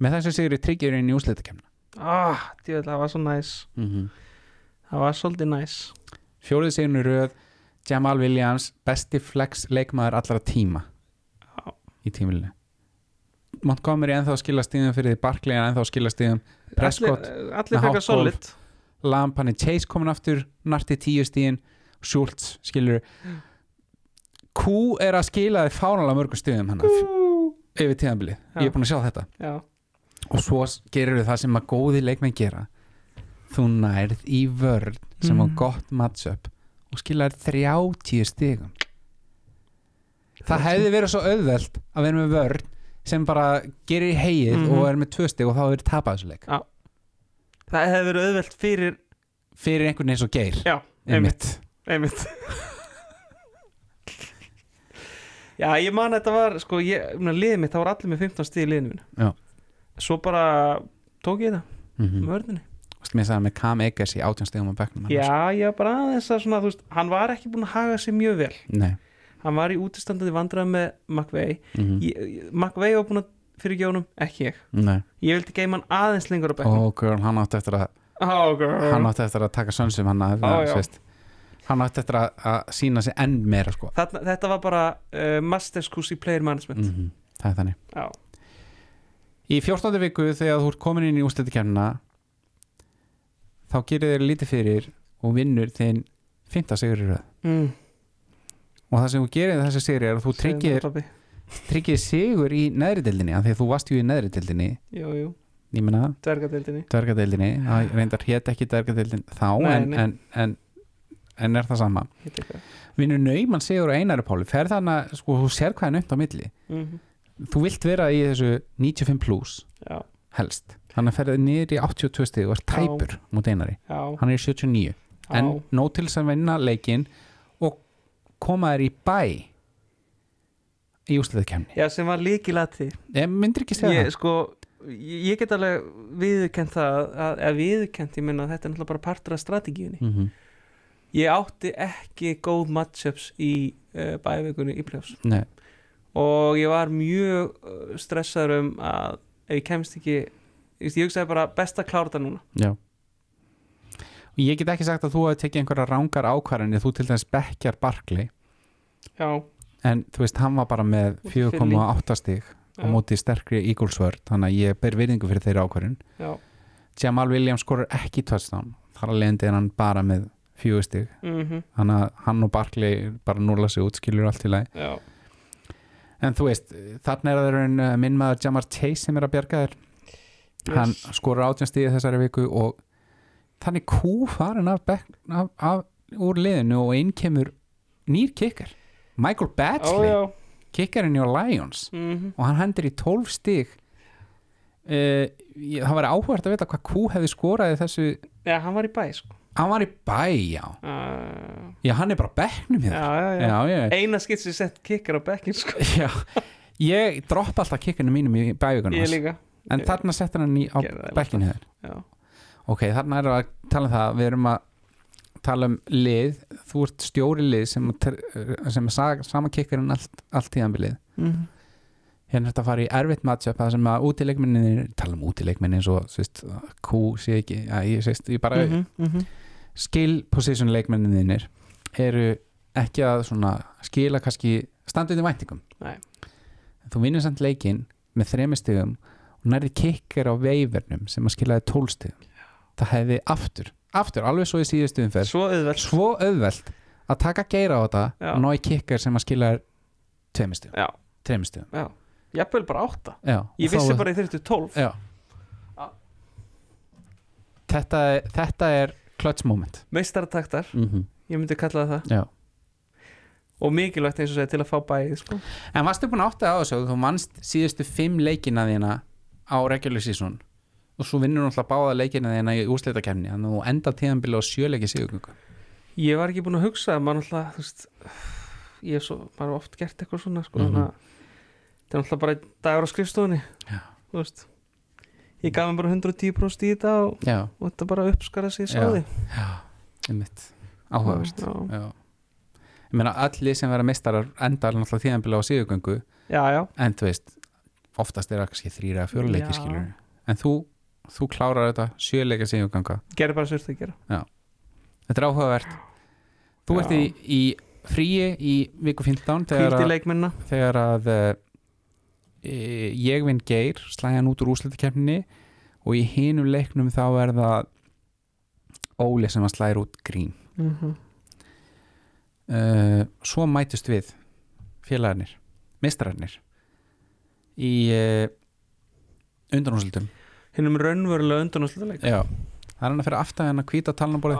B: með þessu sigri tryggjur inn í úsleitakemna
A: Ah, djöfull, það var svo næs
B: mm -hmm.
A: Það var svolítið næs
B: fjórið sigurinn í röð Jamal Williams, besti flex leikmaður allra tíma
A: Já.
B: í tímilinu Montgomery ennþá að skila stíðum fyrir því Barkley er ennþá að skila stíðum Prescott,
A: Allir,
B: með
A: allir
B: hátt
A: fekar
B: golf.
A: solid
B: Lampan er Chase komin aftur Narti 10 stíðin, Schultz skilur Q er að skila þið fánalega mörgum stíðum hann yfir tíðanbilið, ég er búin að sjá þetta
A: já,
B: og svo gerir það sem að góði leikmenn gera þú nærð í vörð sem á
A: Mm.
B: gott matchup og skilar 30 stigum það hefði verið svo auðvelt að vera með vörð sem bara gerir heið
A: Mhm.
B: og er með tvö stig og þá hefur verið tapað þessu leik
A: það hefði verið auðvelt fyrir
B: fyrir einhvern eins og geir
A: já, einmitt,
B: einmitt.
A: einmitt. já, ég man að þetta var sko, ég, ég meina, liðið mitt, það var allir með 15 stíð í liðinu
B: Já.
A: mínu svo bara tók ég það
B: Mm
A: með
B: -hmm.
A: vörðinni
B: Mér sagði með Cam Eggers í 18 stigum á bekknum annars.
A: já, ég var bara aðeins að svona, þú veist, hann var ekki búin að haga sér mjög vel
B: Nei.
A: hann var í útistandandi vandræðum með McVay
B: Mm
A: Ég- ég- McVay var búin að fyrir gjónum, ekki ég
B: Nei.
A: ég vildi geima hann aðeins lengur á bekkum
B: Ó, girl, hann átti eftir að
A: oh, girl.
B: hann átti eftir að taka sönsum hann að,
A: Á, já.
B: sést, hann átti eftir að, að sína sig enn meira sko.
A: Þarna, þetta var bara uh, master's course í player management
B: mm það er þannig
A: já,
B: Í 14. viku þegar þú ert komin inn í úrslitikefnina þá gerir þér lítið fyrir og vinnur þinn 15 sigur í röð
A: mm,
B: og það sem þú gerir þessi sigur er að þú tryggir,
A: Segðu mér,
B: tryggir sigur í neðri deildinni af því að þú varst ju í neðri deildinni
A: pabbi. jú, jú,
B: ég meina
A: dvergadeildinni
B: dvergadeildinni það reyndar hétt ekki dvergadeildin þá
A: Ah. Nei,
B: en,
A: nei.
B: En, en, en er það sama
A: Hitt eitthvað.
B: vinnur nauman sigur á einari páli fer þarna, sko, þú sér hvað er nönd á milli
A: Mhm,
B: þú vilt vera í þessu 95 plus
A: já,
B: helst þannig að ferðið niður í 82 stig og er tæpur mútið einari
A: já,
B: hann er í 79
A: já,
B: en nóg til þess að vinna leikinn og koma þér í bæ í úsliðið kemni
A: já, sem var líkilatið
B: ég myndir ekki segja
A: ég, sko, ég ég get alveg viðurkent það að, að viðurkent, ég minna þetta er náttúrulega bara partur af strategíunni
B: það mm -hmm.
A: ég átti ekki góð matchups í uh, bævikunni í pljófs
B: Nei,
A: og ég var mjög eh, stressaður um að ef ég kemst ekki ég veist, ég hugsaði bara best að klára þetta núna
B: já og ég get ekki sagt að þú hafi tekið einhverja rángar ákvarðinni þú til dæmis bekkjar Barkley
A: já,
B: en þú veist hann var bara með
A: Fyrir
B: 4,8 stig á
A: Já.
B: móti sterkri Eaglesvörd þannig að ég ber virðingu fyrir þeirra ákvarðin
A: já,
B: Jamal Williams skorar ekki touchdown þar að leiðandi er hann bara með 4 stig
A: mhm,
B: þannig að hann og Barkley bara núla sig út skilur allt í lagi
A: já
B: En þú veist, þarna er það raun uh, minn maður Jamar Chase sem er að bjarga þér hann
A: yes.
B: skorur átjánstíði þessari viku og þannig kú farin af, back, af, af úr liðinu og inn kemur nýr kikkar Michael
A: Ó,
B: Batsley,
A: já,
B: kikkarinn hjá Lions
A: mhm,
B: og hann hendur í 12 stig uh, ég, það var áhvert að vita hvað kú hefði skoraði þessu
A: já, hann var í bæ sko.
B: hann var í bæ, já
A: uh,
B: já, hann er bara á bekknum
A: já,
B: hér
A: já, já,
B: já, já,
A: eina skitt sem sett kikkar á bekkin sko.
B: já. ég droppa alltaf kikkarinn mínum í bævíkunum
A: ég líka
B: en þarna settir hann í á
A: Gerði það
B: bekkinu hér
A: já,
B: ok, þarna erum við að tala um það við erum að tala um lið þú ert stjóri lið sem, að ter- sem að sama kikkar en allt, allt tíðanbilið
A: mhm,
B: hérna er þetta að fara í erfitt matchup það sem að útileikminni, tala um útileikminni eins og, svist, kú sé ekki að ég, svist, ég bara,
A: mhm, mhm,
B: skill position leikmenninir eru ekki að svona skila kannski standuði væntingum
A: Nei.
B: En þú vinnur samt leikinn með þremi stigum og nærði kikkar á veifernum sem að skilaði tólstigum það hefði aftur, aftur alveg svo í síðustu umferð
A: svo auðvelt
B: svo auðvelt að taka geira á þetta
A: Já.
B: og ná í kikkar sem að skilaði tveimur stigum,
A: já,
B: tveimur stigum
A: já, jafnvel bara átta
B: Já,
A: ég
B: og þá-
A: vissi bara ég þurfti 12
B: Já.
A: Já.
B: Þetta, er- þetta er clutch moment
A: meistarataktar,
B: mm -hmm.
A: ég myndi kalla það það
B: Já
A: og mikilvægt eins og segja til að fá bæði sko.
B: En varstu búin að átta þig á þessu þú mannst síðustu fimm leikina þína á regular season og svo vinnur náttúrulega báða leikina þína í úrslitakefni þannig að þú endar tíðanbili á sjöleiki sigurgöngu
A: Ég var ekki búin að hugsa maður náttúrulega, þú veist ég er svo, maður er oft gert eitthvað svona sko,
B: Mhm.
A: mm -hmm. þetta er náttúrulega bara einn dagur á skrifstofunni
B: Já.
A: þú veist ég gaf mér bara 110% í þetta og,
B: Já,
A: og þetta bara uppskara sig
B: Já.
A: sáði
B: einmitt, áhugavert Já Ég meina allir sem vera mistarar endar náttúrulega tíðanbili á sigurgöngu
A: já, já,
B: en þú veist, oftast er það kannski þrýra að
A: Já.
B: fjöruleiki skilur en þú, þú klárar þetta sjöleika sigurgönga
A: gerði bara sérst að gera
B: Þetta er áhugavert Þú
A: Já.
B: ert í, í fríi í viku 15 þegar
A: hvíldi
B: að-
A: leikmennina
B: þegar að eh, e, ég vinn geir slæði hann út úr úslitakeppninni og í hinum leiknum þá er það Óli sem að slæra út grín
A: mm
B: uh, svo mætust við félagarnir, mistrarnir í uh, undanúsildum
A: hinnum raunverulega undanúslutaleik
B: Já, það er hann að fyrir aftan hann að hvíta talnabólið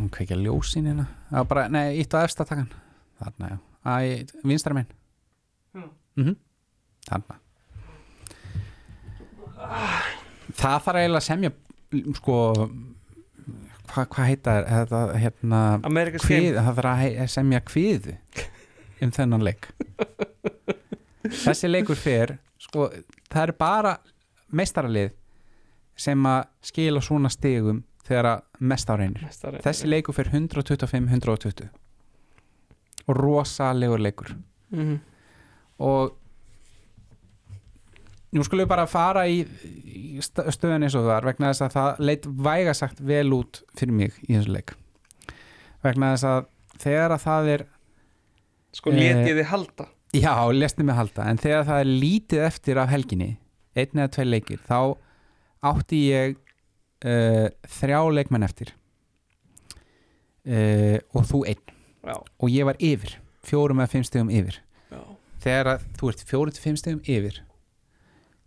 B: Hún kveikja ljósin hérna Það var bara, nei, ítt á efsta takan Þarna, já, Æ, vinstra minn
A: Já.
B: mm Þarna Það þarf eiginlega að semja sko hvað hva heita þær? þetta hérna
A: Amerikas
B: kvið,
A: game
B: það þarf að he- semja kvið um þennan leik þessi leikur fer sko, það er bara meistaralið sem að skila svona stigum þegar að mest á reynir þessi leikur fer 125-120 og rosalegur leikur
A: mm -hmm.
B: og nú skulum við bara fara í, í sta- stöðun eins og það er vegna þess að það leit vægasagt vel út fyrir mig í þessu leik vegna þess að þegar að það er
A: sko
B: Eh,
A: let ég þið halda
B: já, lesti mig halda, en þegar það er lítið eftir af helginni, einn eða tvei leikir þá átti ég uh, þrjá leikmenn eftir uh, og þú einn
A: já,
B: og ég var yfir, fjórum eða fimm stegum yfir
A: já.
B: þegar að þú ert fjóri til fimm stegum yfir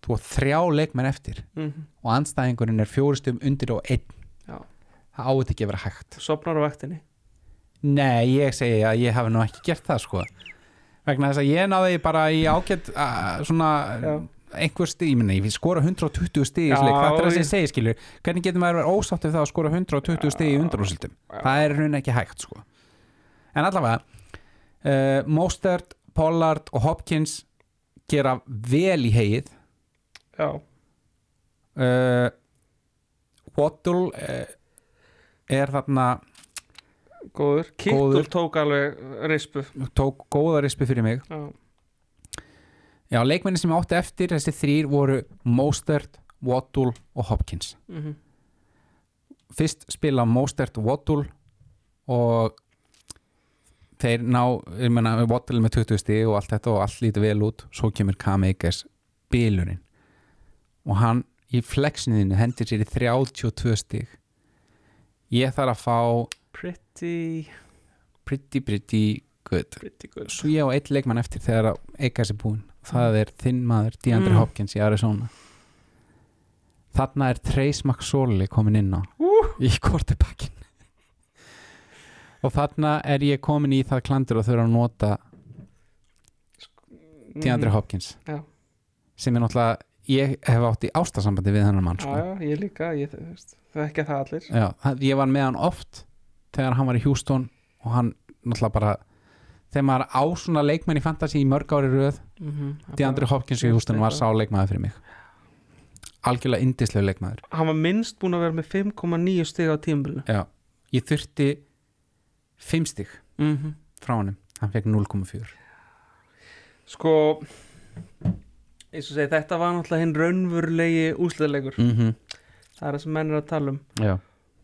B: þú átt þrjá leikmenn eftir
A: Mm
B: og anstæðingurinn er fjóri stegum undir og einn
A: já.
B: það átt ekki að vera hægt
A: sopnar á vaktinni
B: nei, ég segi að ég hafi nú ekki gert það sko vegna þess að ég náði bara í ágætt að, svona
A: Já.
B: einhver stíð, ég minna, ég vil skora 120 stíð
A: Já,
B: það er það
A: ég-
B: sem ég segi skilur hvernig getur maður að vera ósátt við það að skora 120 stíð í undarúsildum, það er raun ekki hægt sko en allavega uh, Mostert, Pollard og Hopkins gera vel í heið
A: já,
B: uh, Waddle uh, er þarna
A: góður
B: Góður.
A: Kittur tók alveg rispu
B: tók góða rispi fyrir mig
A: já,
B: Já, leikmenni sem ég átti eftir þessi þrýr voru Mostert, Waddle og Hopkins
A: mm
B: Fyrst spila Mostert og Waddle og þeir ná, ég menna Waddle með 20 stig og allt þetta og allt lítið vel út svo kemur Cam Akers bilurinn og hann í flexininu hendir sér í 32 stig Ég þarf að fá
A: pretty
B: pretty pretty good
A: pretty good
B: svo ég á eitt leikmann eftir þegar að eiga sér búin það er þinn maður DeAndre
A: Mm.
B: Hopkins í Arizona þarna er Trace McSorley komin inn á
A: Ú.
B: í kortepakkin og þarna er ég komin í það klandur að þurfa að nota DeAndre
A: Mhm.
B: Hopkins
A: Mm. Já.
B: sem er náttúrulega ég hef átt í ástasambandi við hennar mann
A: já,
B: sko.
A: já, ég líka, ég, þú veist, það er ekki það allir
B: Já, það- ég var með hann oft þegar hann var í Houston og hann náttúrulega bara þegar maður á svona leikmenn í fantasy í mörg ári röð
A: mm -hmm.
B: DeAndre Hopkins í Houston var sá leikmaður fyrir mig algjörlega indislega leikmaður
A: hann var minnst búin að vera með 5,9 stig á tímbilinu
B: já, ég þurfti 5 stig
A: mm
B: frá honum hann fekk 0,4
A: sko eins og segi, þetta var náttúrulega hinn raunvörulegi úsliðleikur
B: mm
A: það er það sem menn er að tala um
B: já,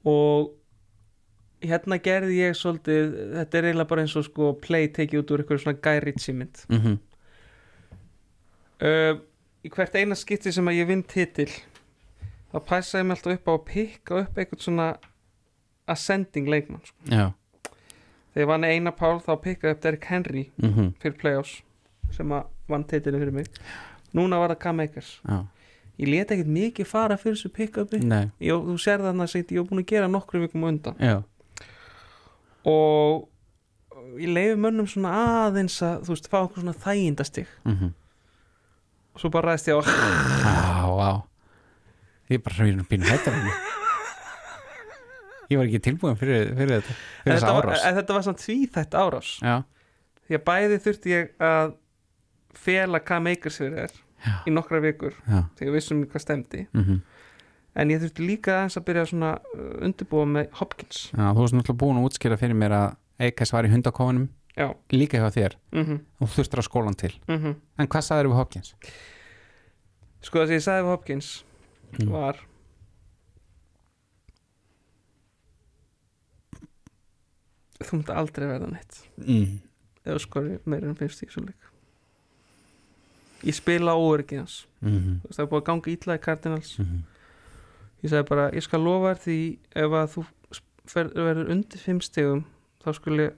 A: og hérna gerði ég svolítið, þetta er eiginlega bara eins og sko play tekið út úr eitthvað svona Guy Ritchie mynd
B: mm -hmm.
A: uh, í hvert eina skipti sem að ég vinn titil þá pæsa ég mig alltaf upp á að pikka upp eitthvað svona ascending leikmann sko.
B: já
A: þegar ég vann eina pál þá pikkaði ég upp Derrick Henry
B: mm -hmm.
A: fyrir playoffs sem að vann titilin fyrir mig núna var það Cam Akers
B: já,
A: ég leta ekkert mikið fara fyrir þessu pick-upi
B: nei
A: Ég- þú sér þarna að ég hef búin að gera nokkru vikum á undan
B: já,
A: og ég leiði mönnum svona aðeins að þú veist, fá einhver svona þægindastig
B: mm -hmm.
A: og svo bara ræðist ég á
B: á, á ég er bara hrjóðin pínu hættar henni ég var ekki tilbúin fyrir, fyrir þetta fyrir
A: þetta
B: þessa
A: var,
B: árás
A: en þetta var svona tvíþætt árás
B: já,
A: því að bæði þurfti ég að fela hvað makers fyrir þér
B: já,
A: í nokkra vikur
B: já
A: þegar við vissum hvað stemdi
B: mm
A: en ég þurfti líka aðeins að byrja svona uh, undirbúa með Hopkins
B: Já, þú varst náttúrulega búin að útskýra fyrir mér að Eikas var í hundakofunum
A: já,
B: líka hjá þér
A: mhm,
B: og þú þurftir að skólan til
A: mhm
B: en hvað sagðir við Hopkins?
A: sko það sem ég sagði við Hopkins var þú mútt aldrei verða neitt
B: Mm.
A: ef þú skori meira en 50 svo leik ég spila óörgi hans
B: Mm -hmm. Mm.
A: Þú veist, það er búið að ganga ítla í Cardinals ég sagði bara, ég skal lofa þér því ef að þú fer- verður undir fimm stegum þá skulle ég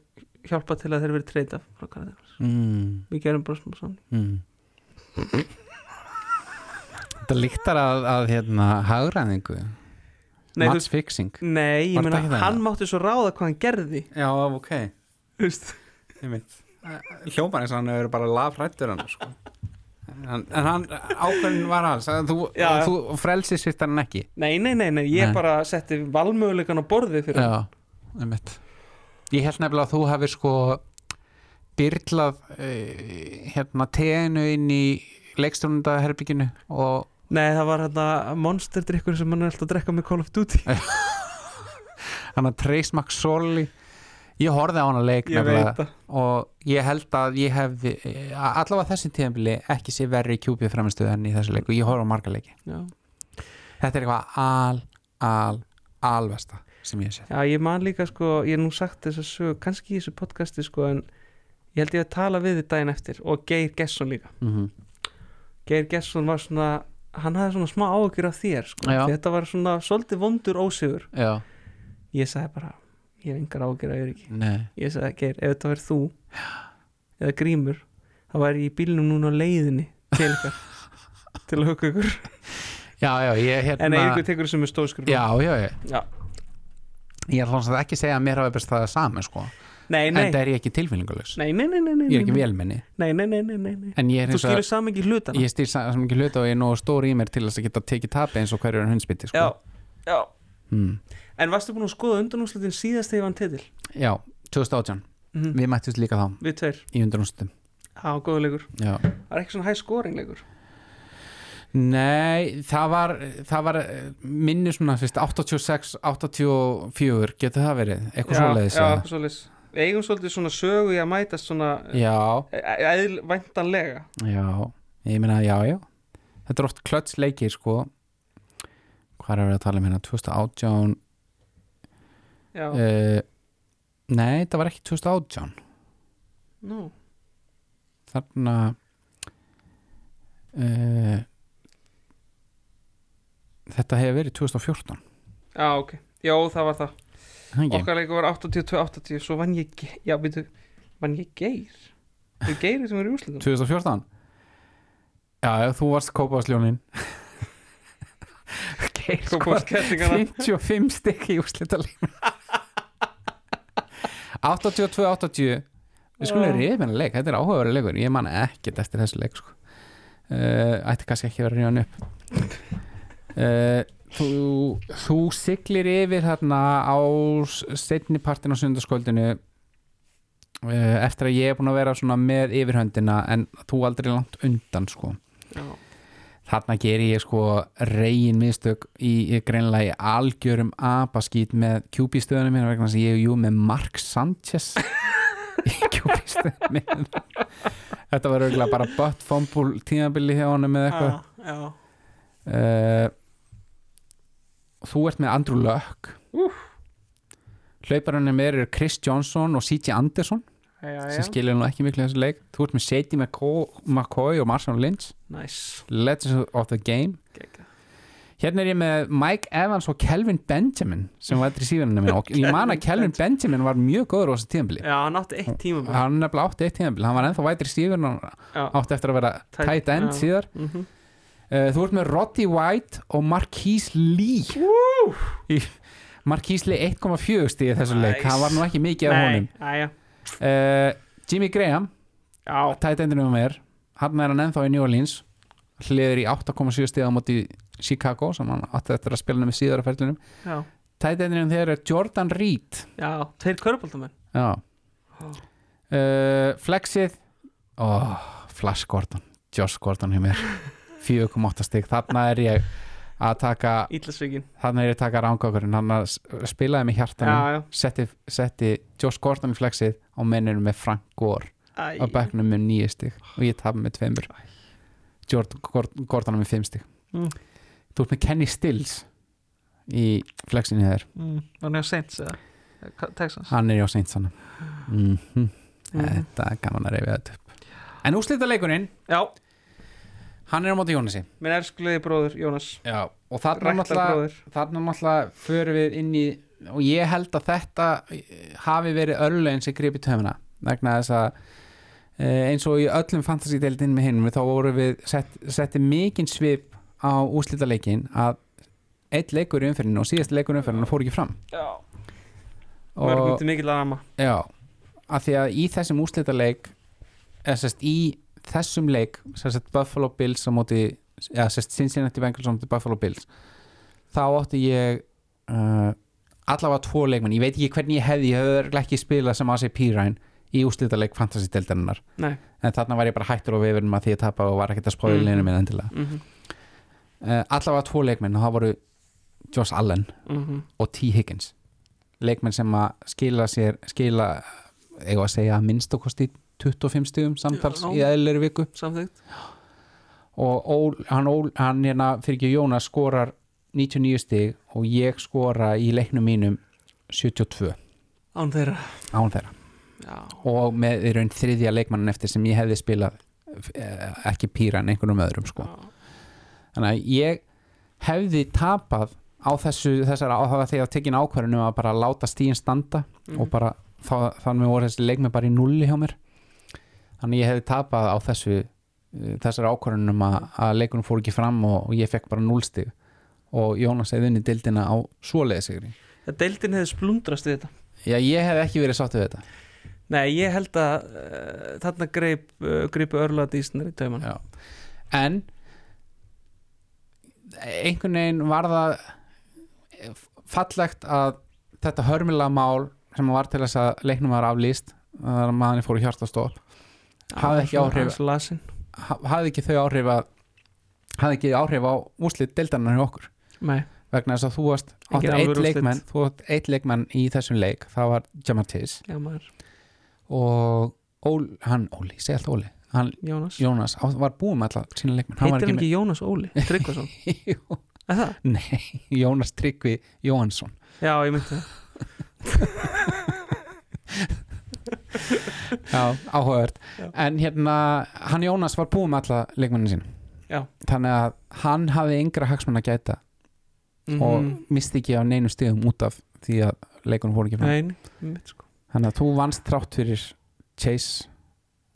A: hjálpa til að þeir verið treyta frá Cardinals.
B: mm.
A: við gerum bara smá saman
B: Mm. Þetta líktar að, að hérna, hagræðingu
A: nei, þú,
B: Match fixing
A: nei, ég
B: Var þetta
A: meina
B: ekki það?
A: hann mátti svo ráða hvað hann gerði
B: Já, ok,
A: þú veist.
B: ég mitt Hljómar eins og hann hefur bara lafrættur hann sko. En, en hann ákveðin var hans að þú,
A: Já, já.
B: þú frelsið sýttar hann ekki
A: nei, nei, nei, nei, ég
B: Nei.
A: bara setti valmöguleikan á borðið fyrir hann.
B: Já, einmitt Ég held nefnilega að þú hefur sko byrlað uh, hérna teginu inn í leikstjónundaherbygginu og
A: nei, það var hérna monsterdrykkur sem hann er alltaf að drekka með Call of Duty
B: Eh. hann að Trace McSorley ég horfði á hann að leik
A: ég
B: nefnilega
A: veit það
B: og ég held að ég hef allavega þessi tíðanbili ekki sé verri kjúpið framistuð enn í þessu leik og ég horfði á marga leiki
A: já.
B: þetta er eitthvað al, al, alvesta sem ég sé
A: já, ég man líka sko, ég hef nú sagt þess að sög kannski í þessu podcasti sko en ég held ég að tala við þið daginn eftir og Geir Gesson líka
B: mm -hmm.
A: Geir Gesson var svona hann hafði svona smá áhugur af þér sko.
B: Já.
A: Því þetta var svona svolítið vondur ósigur
B: já,
A: ég sagði bara, ég hef engar áhugur af Eiríki
B: nei
A: ég sagði Geir, ef þetta verður þú eða grímur, þá væri ég í bílnum núna á leiðinni til ykkar til að hugga ykkur
B: já, já, ég
A: en Eiríku
B: hérna
A: tekur þessum með stóðskur
B: já, já, já,
A: Já.
B: ég ætla hans að ekki segja að mér hafa best það saman sko,
A: Nei,
B: en
A: nei.
B: það er ég ekki tilfélningulegs
A: nei, nei, nei, nei, nei,
B: ég er ekki
A: nei,
B: velmenni,
A: nei, nei, nei, nei, nei.
B: en ég er
A: þú
B: eins og
A: skilur samengi hlutana
B: ég stýr sem ekki hluta og ég er nógu stór í mér til þess að geta tekið tapi eins og hverjur hundspiti sko.
A: já, já.
B: Hmm.
A: En varstu búin að skoða undanúslutin síðast þegar ég vann titil?
B: já 2018,
A: Mhm.
B: við mættist líka þá
A: Við tveir,
B: í undanústum
A: á góðu leikur
B: Já.
A: Það er ekki svona hæ scoring leikur
B: Nei, það var, það var eh, minni svona fyrst 86, 84 getur það verið, eitthvað svoleiðis
A: Já,
B: eða?
A: eitthvað svoleiðis Við eigum svolítið svona sögu í að mætast svona
B: já,
A: e- eðl, væntanlega
B: já, ég meina já, já þetta er oft klöts leikir sko hvað er að vera að tala um hérna 2018
A: Já,
B: uh, nei, það var ekki 2018
A: nú
B: þarna uh, þetta hefur verið 2014
A: Já, ok, já það var það
B: Hengi.
A: Okkar leikur var 82-80 Svo vann ég, Ge- já, veitu Vann ég geir Þau geir sem eru í úrslutum
B: 2014 Já, já, þú varst kópásljónin Geir
A: Kópaðs
B: skoraði
A: kettingana
B: 55 stykki í úrslitalegum 82-80 Við skulum
A: Já.
B: reyða hennar leik, þetta er áhugaverið leikur Ég man ekkert eftir þessu leik sko. uh, Ætti kannski ekki að vera reyðan upp uh, þú, þú siglir yfir þarna á setni partin á sundarskóldinu uh, eftir að ég er búin að vera svona með yfirhöndina en þú aldrei langt undan sko.
A: Já,
B: þarna ger ég sko reygin mistök í, í greinlega í algjörum apaskýt með kjúbístöðunum minna vegna þess að ég er jú með Mark Sanchez í kjúbístöðunum minna þetta var auðvitað bara bött fómbúl tímabili hjá honum með eitthvað
A: Ah, já
B: uh, þú ert með Andrew Luck
A: Úff.
B: hlauparunni með eru Chris Johnson og C.J. Anderson
A: Já,
B: sem
A: já,
B: skilur nú ekki miklu í þessu leik þú ert með Sadie McCoy, McCoy og Marshall Lynch
A: nice
B: Legends of the Game
A: Gekka.
B: hérna er ég með Mike Evans og Kelvin Benjamin sem var eftir síðanina minna og ég man að Kelvin Benjamin var mjög góður á þessu tíðanbili
A: Já, hann átti eitt tíma bara
B: hann nefnilega átti eitt tíðanbili, hann var ennþá vætri síðan og
A: Já,
B: átti eftir að vera
A: Tight-
B: tight end
A: já.
B: síðar
A: mhm
B: uh, þú ert með Roddy White og Marquise Lee
A: Woo!
B: Í- Marquise Lee 1,4 stíði þessu leik,
A: Nice.
B: hann var nú ekki mikið af honum
A: aðja
B: uh, Jimmy Graham
A: Já,
B: tight endinu um er, hann er hann ennþá í New Orleans hliður í 8,7 stíða á móti Chicago sem hann átti eftir að spila með síðar á færlinum
A: já,
B: tight endinu þeir er Jordan Reed
A: já, tveir körbóltamenn
B: já
A: oh.
B: uh, flexið oh, Flash Gordon, Josh Gordon hjá mér 4,8 stík, þarna er ég að taka,
A: Ítlasvíkin
B: þarna er ég að taka rángakurinn hann að s- spilaði með hjartanum
A: Já, já,
B: setti, setti Josh Gordon í flexið og mennir með Frank Gore
A: æ
B: á bekknum með nýju stík og ég tapa með tveimur Jordan Gord- Gordon með fimm stík
A: Mm.
B: þú ert með Kenny Stills í flexinu þér
A: mm, Var nefn sent, eða Ka- Texas
B: hann er hjá seint sann mm
A: Mhm.
B: þetta er gaman að reyfi þetta upp en úrslita leikurinn,
A: Já,
B: hann er á móti Jónasi
A: minn elskulegi bróður Jónas
B: já og þarna
A: Ræktar
B: náttúrulega,
A: bróðir.
B: þarna náttúrulega förum við inn í og ég held að þetta eh, hafi verið örlegin sem gripi tömuna vegna þess að eh, eins og í öllum fantasídeildin með hinum þá voru við sett, setti mikinn svip á úslitaleikin að eitt leikur í umferðinu og síðast leikur í umferðinu fór ekki fram
A: Já. Mörgum
B: og
A: til mikil að ama
B: já, að því að í þessum úslitaleik eða sérst í þessum leik sérst Buffalo Bills á móti eða sérst Cincinnati Bengals á móti Buffalo Bills þá átti ég uh, allavega tvo leikmenn ég veit ekki hvernig ég hefði, ég hefði örugglega ekki spilað sem ACP Ryan í úslitaleik fantasy-deldarinnar
A: Nei,
B: en þarna var ég bara hættur og viðverðum að því ég tapa og var ekkert að spóða í
A: Mm.
B: leinu minn endilega
A: mm -hmm.
B: uh, allavega tvo leikmenn og það voru Josh Allen
A: mhm.
B: og T. Higgins leikmenn sem að skila sér skila, eigum að segja að minnst og kosti 25 stíðum samtals
A: Já.
B: í eðlir viku
A: samþygt
B: og ól, hann, ól, hann hérna fyrir ekki Jónas skorar 99 stíg og ég skora í leiknum mínum 72
A: Án þeirra
B: án þeirra
A: Já,
B: og með í raun þriðja leikmann eftir sem ég hefði spilað eh, ekki pýran einhvernum öðrum sko.
A: já.
B: þannig að ég hefði tapað á þessu þessar áhuga þegar ég tekin ákvarðunum um að bara láta stíin standa og bara þá, þannig voru þessi leikmi bara í nulli hjá mér þannig að ég hefði tapað á þessu uh, þessar ákvarðunum að, að leikunum fór ekki fram og, og ég fekk bara nullstig og Jónas hefði unni dildina á svoleiði sigri
A: Það deildin hefði splundrast við þetta
B: Já, ég hefði ekki verið sátt við þetta
A: Nei, ég held að uh, þarna greip, uh, greipu örla dísnir í tauman
B: Já. en einhvern veginn var það fallegt að þetta hörmulega mál sem var til þess að leiknum var aflýst þar að maðurinn fór í hjartastóð hafði ekki áhrif.
A: Lasin
B: hafði ekki þau áhrif að hafði ekki áhrif á úslit deildarnar hjá okkur
A: Nei,
B: vegna þess að þú varst
A: Engin
B: áttir
A: alvöru
B: eitt
A: úrslit.
B: leikmann þú átt eitt leikmann í þessum leik það var Jamar Tiss
A: já maður,
B: og Ól, hann Óli, segi alltaf Óli hann,
A: Jónas
B: Jónas, á, var búið með alltaf sína leikmann hann
A: Heitir hann ekki Jónas Óli, Tryggvason
B: ekki með Jú.
A: Er það?
B: Nei, Jónas Tryggvi Jóhansson
A: Já, ég myndi það
B: Já, áhugavert
A: Já.
B: En hérna, hann Jónas var búið með alla leikmennin sín
A: Já.
B: Þannig að hann hafði yngra hagsmenn að gæta
A: mm
B: og misti ekki á neinum stigum út af því að leikunum fór ekki fram
A: Nein, mitt sko
B: Þannig að þú vannst þrátt fyrir Chase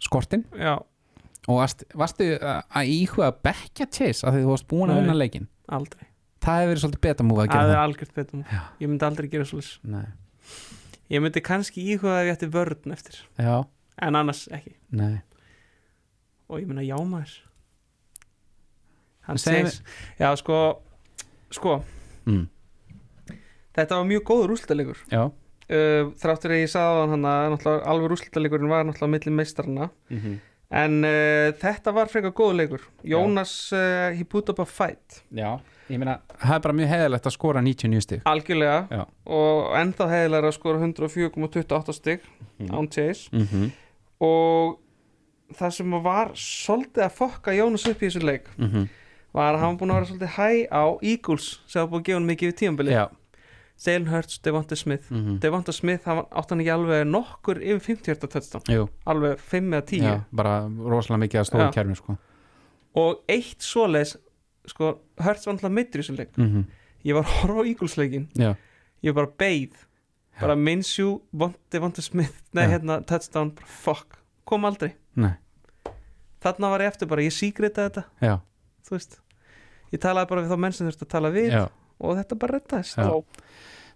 B: skortin
A: Já,
B: og varst, varstu að að íhuga að bekja Chase af því þú varst búin að
A: Nei.
B: vinna leikin
A: aldrei
B: Það hefur verið svolítið betamúfa að
A: Það
B: gera
A: er
B: það
A: algjört betum
B: Já.
A: Ég myndi aldrei gera svolítið
B: Nei.
A: Ég myndi kannski íhuga ef ég ætti vörn eftir
B: Já,
A: En annars ekki
B: nei
A: Og ég myndi já maður Hann
B: Segðu
A: segis Já, sko Sko,
B: mm.
A: þetta var mjög góður úrslitalegur
B: Já
A: uh, Þráttur að ég sagði hann að alveg úrslitalegurinn var náttúrulega milli meistarana
B: mm -hmm.
A: En uh, þetta var frekar góður leikur Jónas, uh, he put up a fight
B: Já, ég meina Það er bara mjög heðalegt að skora 99 stig
A: Algjörlega
B: Já.
A: Og ennþá heiðilega að skora 104,28 stig Án Chase
B: mm -hmm.
A: Og það sem var svolítið að fokka Jónas upp í þessu leik
B: mhm.
A: Var að hann var búin að vera svolítið hæ á Eagles Sem var búin að gefa hann mikið við tíambili
B: Já,
A: Jalen Hurts, Devonta Smith
B: mm -hmm.
A: Devonta Smith, hann átt hann ekki alveg nokkur yfir 50 hjarta tötstam
B: Jú,
A: Alveg 5 eða 10
B: já, bara rosalega mikið að stóðu
A: Já.
B: kerfum sko.
A: og eitt svoleiðis sko, Hurts var náttúrulega mittur í þessum leik
B: mm
A: ég var að horfa á Eagles-leikin,
B: Já,
A: ég bara beið bara Minshew, Vonti, Vonti Smith nei,
B: Já.
A: hérna, touchdown, bara fuck kom aldrei,
B: nei,
A: þarna var ég eftir bara, ég sígrita þetta,
B: já,
A: þú veist ég talaði bara við þá menn sem þurfti að tala við
B: já.
A: og þetta bara rettaðist
B: Já.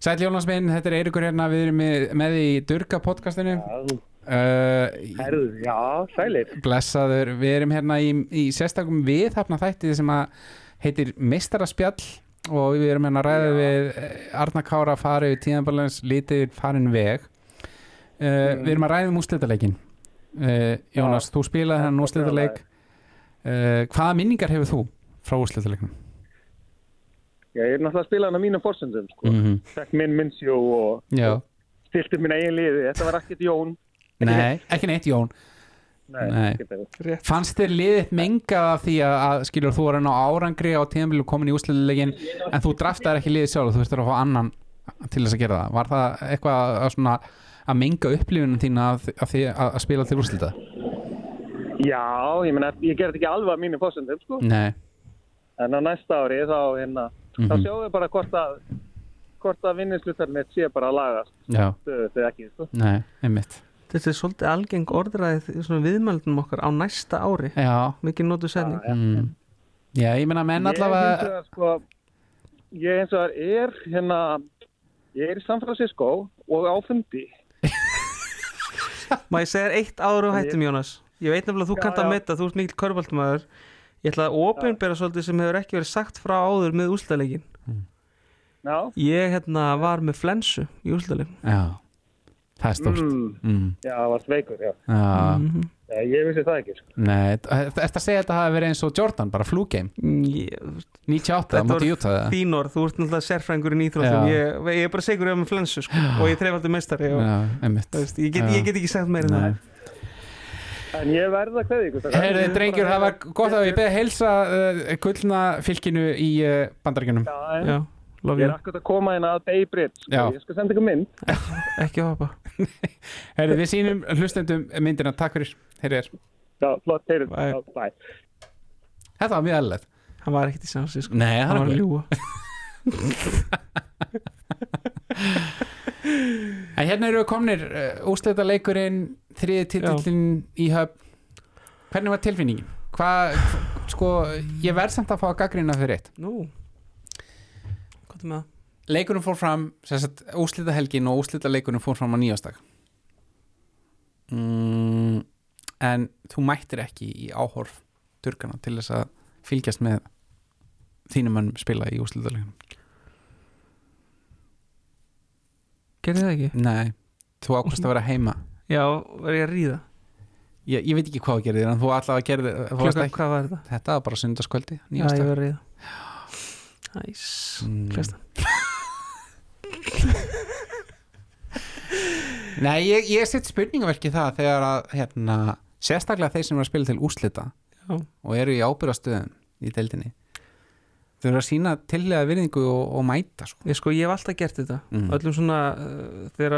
B: Sæll Jónas minn, þetta er Eirikur hérna við erum með, með í Durga podcastinu uh,
D: Herðu, já, sælir.
B: Blessaður, við erum hérna í, í sérstakum viðhafna þætti sem að heitir Mistaraspjall og við erum hérna að ræða við eh, Arna Kára farið tíðanbalans lítið farin veg uh, Við erum að ræða um úrslitaleikin uh, Jónas, þú spilaði hann úrslitaleik uh, Hvaða minningar hefur þú frá úrslitaleiknum?
D: Já, ég er náttúrulega að spila hann á mínum forsendum, sko.
B: Mm
D: Fekk minn minnsjó og
B: Já,
D: stilti minn eigin liði. Þetta var ekkert Jón.
B: nei, ekki neitt Jón Nei.
D: ekkert eitthvað.
A: rétt,
B: Fannst þér liðið mengað af því að, að skilur þú var enn á árangri á tíðanbílu komin í úsliðlegin en þú draftaðir ekki liðið sjálf þú þurftir að fá annan til þess að gera það Var það eitthvað að, svona, að menga upplifunum þína af, því- af því að, að spila til úslita?
D: Já,
B: Mm.
D: ég meina, ég gerði ekki alveg á mínum forsendum, sko.
B: Nei,
D: En á næsta ári þá, hérna, þá sjáum við bara hvort að hvort að vinninslutarinn mitt sé bara að lagast
B: Já,
D: stöðugt eða ekki sko.
B: nei, einmitt
A: Þetta er svolítið algeng orðræðið í svona viðmældunum okkar á næsta ári
B: Já,
A: mikið notu setning
B: mm. já ég meina menn
D: ég, hins
B: allavega
D: vegar, sko, ég eins og það er hérna ég er í San Francisco og á fundi
A: Má ég segja þér eitt ára og hættum Jónas Ég veit nefnilega að þú
D: Já,
A: kannt að
D: já.
A: metta, þú ert mikill körbaldmaður Ég ætla að opinbera svolítið sem hefur ekki verið sagt frá áður með úrslaleggin
D: Já,
A: Ég hérna var með flensu í úrslaleggin
B: Já, það er stórt
D: mm,
B: mm.
D: já, það var sveikur já.
B: Já,
D: Já, ég vissi það ekki sko.
B: nei Ertu að segja að þetta hafi verið eins og Jordan, bara flúgeim
A: mm,
B: 98,
A: Þetta
B: mútið
A: voru
B: Júta það
A: Þín orð, þú ert náttúrulega sérfrængur í nýþróttum
B: Já.
A: ég, ég er bara segur ég var með flensu sko, og ég er trefaldi mestari og,
B: Já, einmitt
A: þú veist, ég, get,
B: Já.
A: ég get ekki sagt meira en
B: Nei.
A: það
D: en ég verða að kveði ykkur
B: Herði,
C: um
B: drengjur, það var gott að ég beði heilsa uh, gullna fylkinu í uh, bandaríkjunum
D: Já, en
A: Já, lof
D: Ég er
A: ég,
D: akkurat að koma inn að Bay Bridge sko.
B: Já.
D: Ég skal senda ykkur mynd
A: ekki að hoppa
B: Herði, við sýnum hlustendum myndina, takk fyrir Herri,
D: Já, flott, heyrðu
A: Bye.
D: Já, bye.
B: þetta var mjög aðlega
A: Hann var ekkert í sansi sko,
B: Nei,
A: hann var að ljúa
B: En hérna eru við komnir uh, úsleta leikurinn, þriði titillin í höfn Hvernig var tilfinningin? Hvað, sko, ég verð samt að fá að gaggrina fyrir eitt
A: Nú, hvað er með það?
B: Leikurinn fór fram, sem sagt, úslita helgin og úslita leikurinn fór fram á nýjastag mm, En þú mættir ekki í áhorf turkana til þess að fylgjast með þínum mönnum spila í úslita leikunum
A: Gerði það ekki?
B: Nei, þú ákvæmst að vera heima
A: Já, var ég að ríða
B: Ég, ég veit ekki hvað þú gerðir, en þú allavega gerðir þú varst
A: Klukkan,
B: ekki-
A: hvað var þetta?
B: Þetta var bara sundarskvöldi,
A: Já, ég
B: nýjastag
A: var að ríða Næs,
B: Mm.
A: klesta
B: Nei, ég, ég set spurningaverki það þegar að hérna, sérstaklega þeir sem eru að spila til úslita
A: Já.
B: og eru í ábyrðastöðum í deildinni þau eru að sína tillega virðingu og, og mæta sko.
A: Ég sko, ég hef alltaf gert þetta
B: Mm.
A: Öllum svona, uh, þegar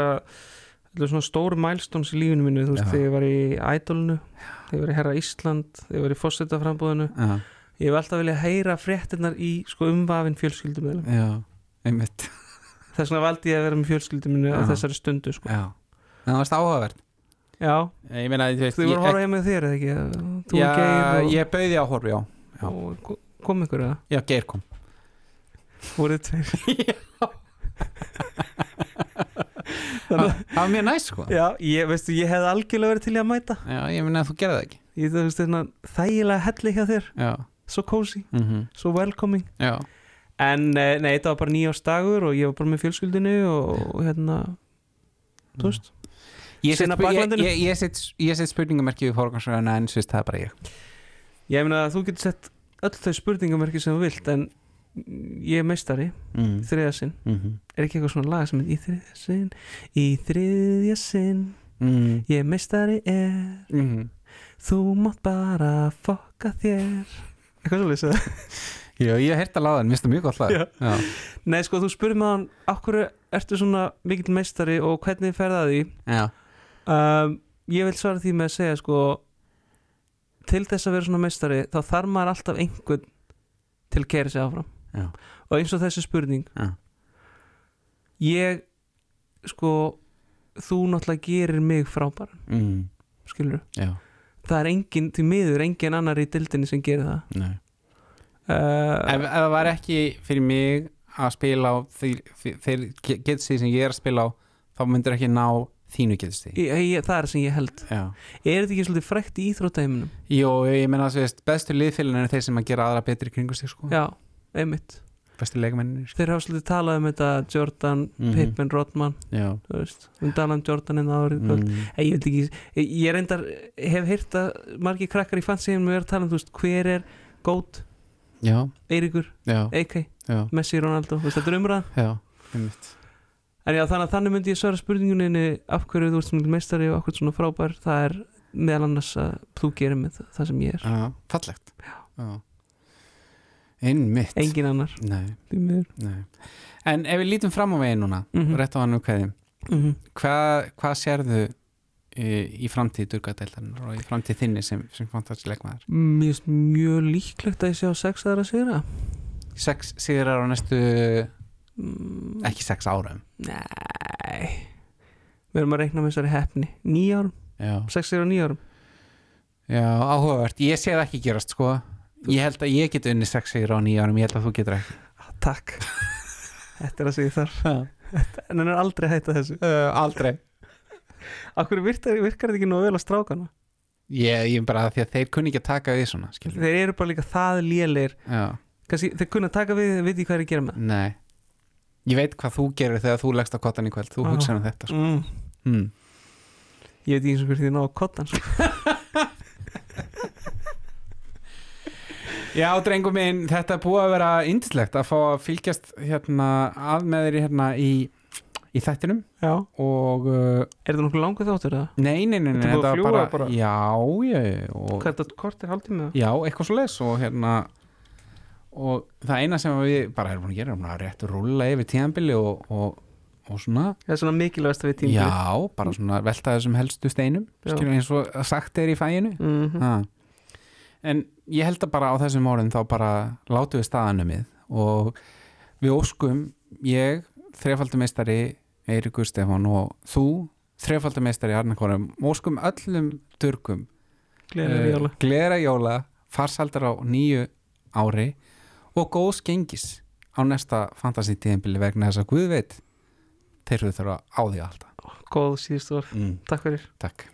A: Öllum svona stóru milestones í lífinu mínu Þú veist,
B: Já.
A: þegar ég var í Idolnu Þegar ég var í Herra Ísland, þegar ég var í Fossetaframbúðinu
B: Já,
A: Ég hef alltaf viljað heyra fréttinnar í sko umvafin fjölskyldum
B: já, einmitt
A: Þess vegna valdi ég að vera með fjölskyldum minni á
B: Já.
A: þessari stundu sko.
B: Já, en það varst áhugavert
A: Já,
B: Ég meina, þú veist
A: þú voru að horfa
B: ég,
A: heim með þér eða ekki Þú
B: já,
A: og Geir og,
B: ég bauði á horfi, já já.
A: og kom ykkur eða
B: Já, Geir kom
A: voruð tveir
B: Það
A: Þannig-
B: það var mjög næs, sko Já,
A: Já, ég, veistu, ég hefði algjörlega verið til í að mæta
B: ég meina, þú gerði það ekki
A: Ég þú veist þérna þægilega helli hjá þér
B: Já,
A: Svo cozy,
B: mm
A: svo welcoming
B: já,
A: En eh, nei, þetta var bara nýjástagur og ég var bara með fjölskyldinu og, og hérna Þú veist,
B: Ég set
A: Sinna
B: spu- ég-
A: baklandinu?
B: ég- ég set- ég set spurningamerki við fórgangsröðuna en svist það er bara ég
A: ég meina að þú getur sett öll þau spurningamerki sem þú vilt en ég er meistari,
B: mm.
A: þriðja sinn
B: Mm
A: Er ekki eitthvað svona lag sem er í þriðja sinn Í þriðja sinn
B: mm.
A: Ég er meistari er
B: Mm.
A: Þú mátt bara fokka þér Eitthvað svo lýsa
B: Já, ég hef heyrt að láðan, minnst það mjög gott lag
A: Já.
B: Já.
A: Nei, sko, þú spurði mig hann Akkur ertu svona mikill meistari og hvernig ferða því
B: Já.
A: um, Ég vil svara því með að segja sko Til þess að vera svona meistari Þá þarf maður alltaf einhvern Til að kæra sig áfram
B: Já.
A: Og eins og þessi spurning
B: Já.
A: Ég sko Þú náttúrulega gerir mig frábæran
B: Mm.
A: Skilur
B: Já.
A: Það er engin, því miður engin annar í dildinni sem gerir það
B: Ef,
A: uh,
B: ef það var ekki fyrir mig að spila á þeir getsi sem ég er að spila á þá myndir ekki ná þínu getsi
A: ég, ég, það er sem ég held
B: Já.
A: er þetta ekki svolítið frækt í íþróttaheiminum
B: Jó, ég meina að þú veist, bestu liðfélagin er þeir sem að gera aðra betri kringu sig sko.
A: já, einmitt
B: bestu leikmennin sko.
A: þeir hafa svolítið talað um þetta Jordan,
B: Mhm.
A: Pippen, Rodman
B: Já.
A: þú veist, um Dalan Jordan en árið mm.
B: Mm.
A: ég veit ekki, ég, ég reyndar hef heyrt að margir krakkar í fansíðum er að tala um, þú veist, hver er Goat,
B: Já.
A: Eiríkur,
B: Já.
A: AK
B: Já.
A: Messi, Ronaldo, þú veist, þetta er umræðan
B: Já. Einmitt.
A: en já, þannig að þannig myndi ég svara spurninguninni af hverju þú ert svona meistari og af hverju svona frábær það er meðal annars að þú gerir með það, það sem ég er,
B: Já. Fallegt Já. Einmitt
A: engin annar
B: Nei,
A: því miður
B: nei. En ef við lítum fram á veginn núna
A: Mhm.
B: rétt á hann um hverjum
A: mm
B: hvað, hvað sérðu e, í, í framtíð durgadeildarinnar og í framtíð þinni sem, sem fantasy leikmaður
A: Mér finnst mjög líklegt að ég sé á sex aðra sigra
B: sex sigrar á næstu
A: Mm,
B: ekki sex árum
A: Nei Við erum að reikna með þessari hefni Níu árum,
B: já,
A: sex ára níu árum
B: já áhugavert, ég sé það ekki gerast sko ég held að ég get unni sex sigrar á nýja árum ég held að þú getur ekki
A: ah, Takk Þetta er að segja þar
B: uh,
A: En hann er aldrei hægt að þessu
B: aldrei
A: Akkur virkar, virkar þetta ekki nóg vel að strákana
B: ég, ég er bara að því að þeir kunni ekki að taka við svona skilur.
A: Þeir eru bara líka það lélir
B: já,
A: Kansi, Þeir kunna taka við, þeir viti hvað er að gera með
B: nei ég veit hvað þú gerir þegar þú leggst á kottan í kvöld þú
A: Já.
B: hugsaður um þetta
A: það
B: sko.
A: mm.
B: mm.
A: Ég veit ekki eins og hvernig þið náðu kottan sko.
B: Já, drengum minn, þetta er búið að vera yndislegt að fá að fylgjast hérna, að með þér hérna í, í þættinum
A: Já
B: og uh,
A: Er þetta nokkuð langur þáttur eða?
B: nei, nei, nei, nei
A: Þetta er búið að
B: var
A: fljúga bara.
B: Já, já, og,
A: Hvað er þetta kortir haldtími eða?
B: já, eitthvað svo les og hérna og það eina sem við bara erum búin að gera er bara að rétt rúlla yfir tíðanbili og, og, og svona
A: Það er svona mikilvægast að við tíma
B: Já, bara svona velta þessum helstu steinum
A: Já.
B: skilur eins og sagt er í fæinu
A: mm
B: ha. en ég held að bara á þessum orðin þá bara látum við staðanum við og við óskum ég, þrefaldumeistari Eirikur Stefán og þú þrefaldumeistari Arnakórum óskum öllum durkum
A: Gleðilega jóla
B: glera jóla farsaldar á nýju ári og góðs gengis á næsta fantasítíðinbili vegna þess að Guð veit þeir eru þurfa á því alltaf
A: Góð síðustu var
B: mm.
A: Takk fyrir
B: Takk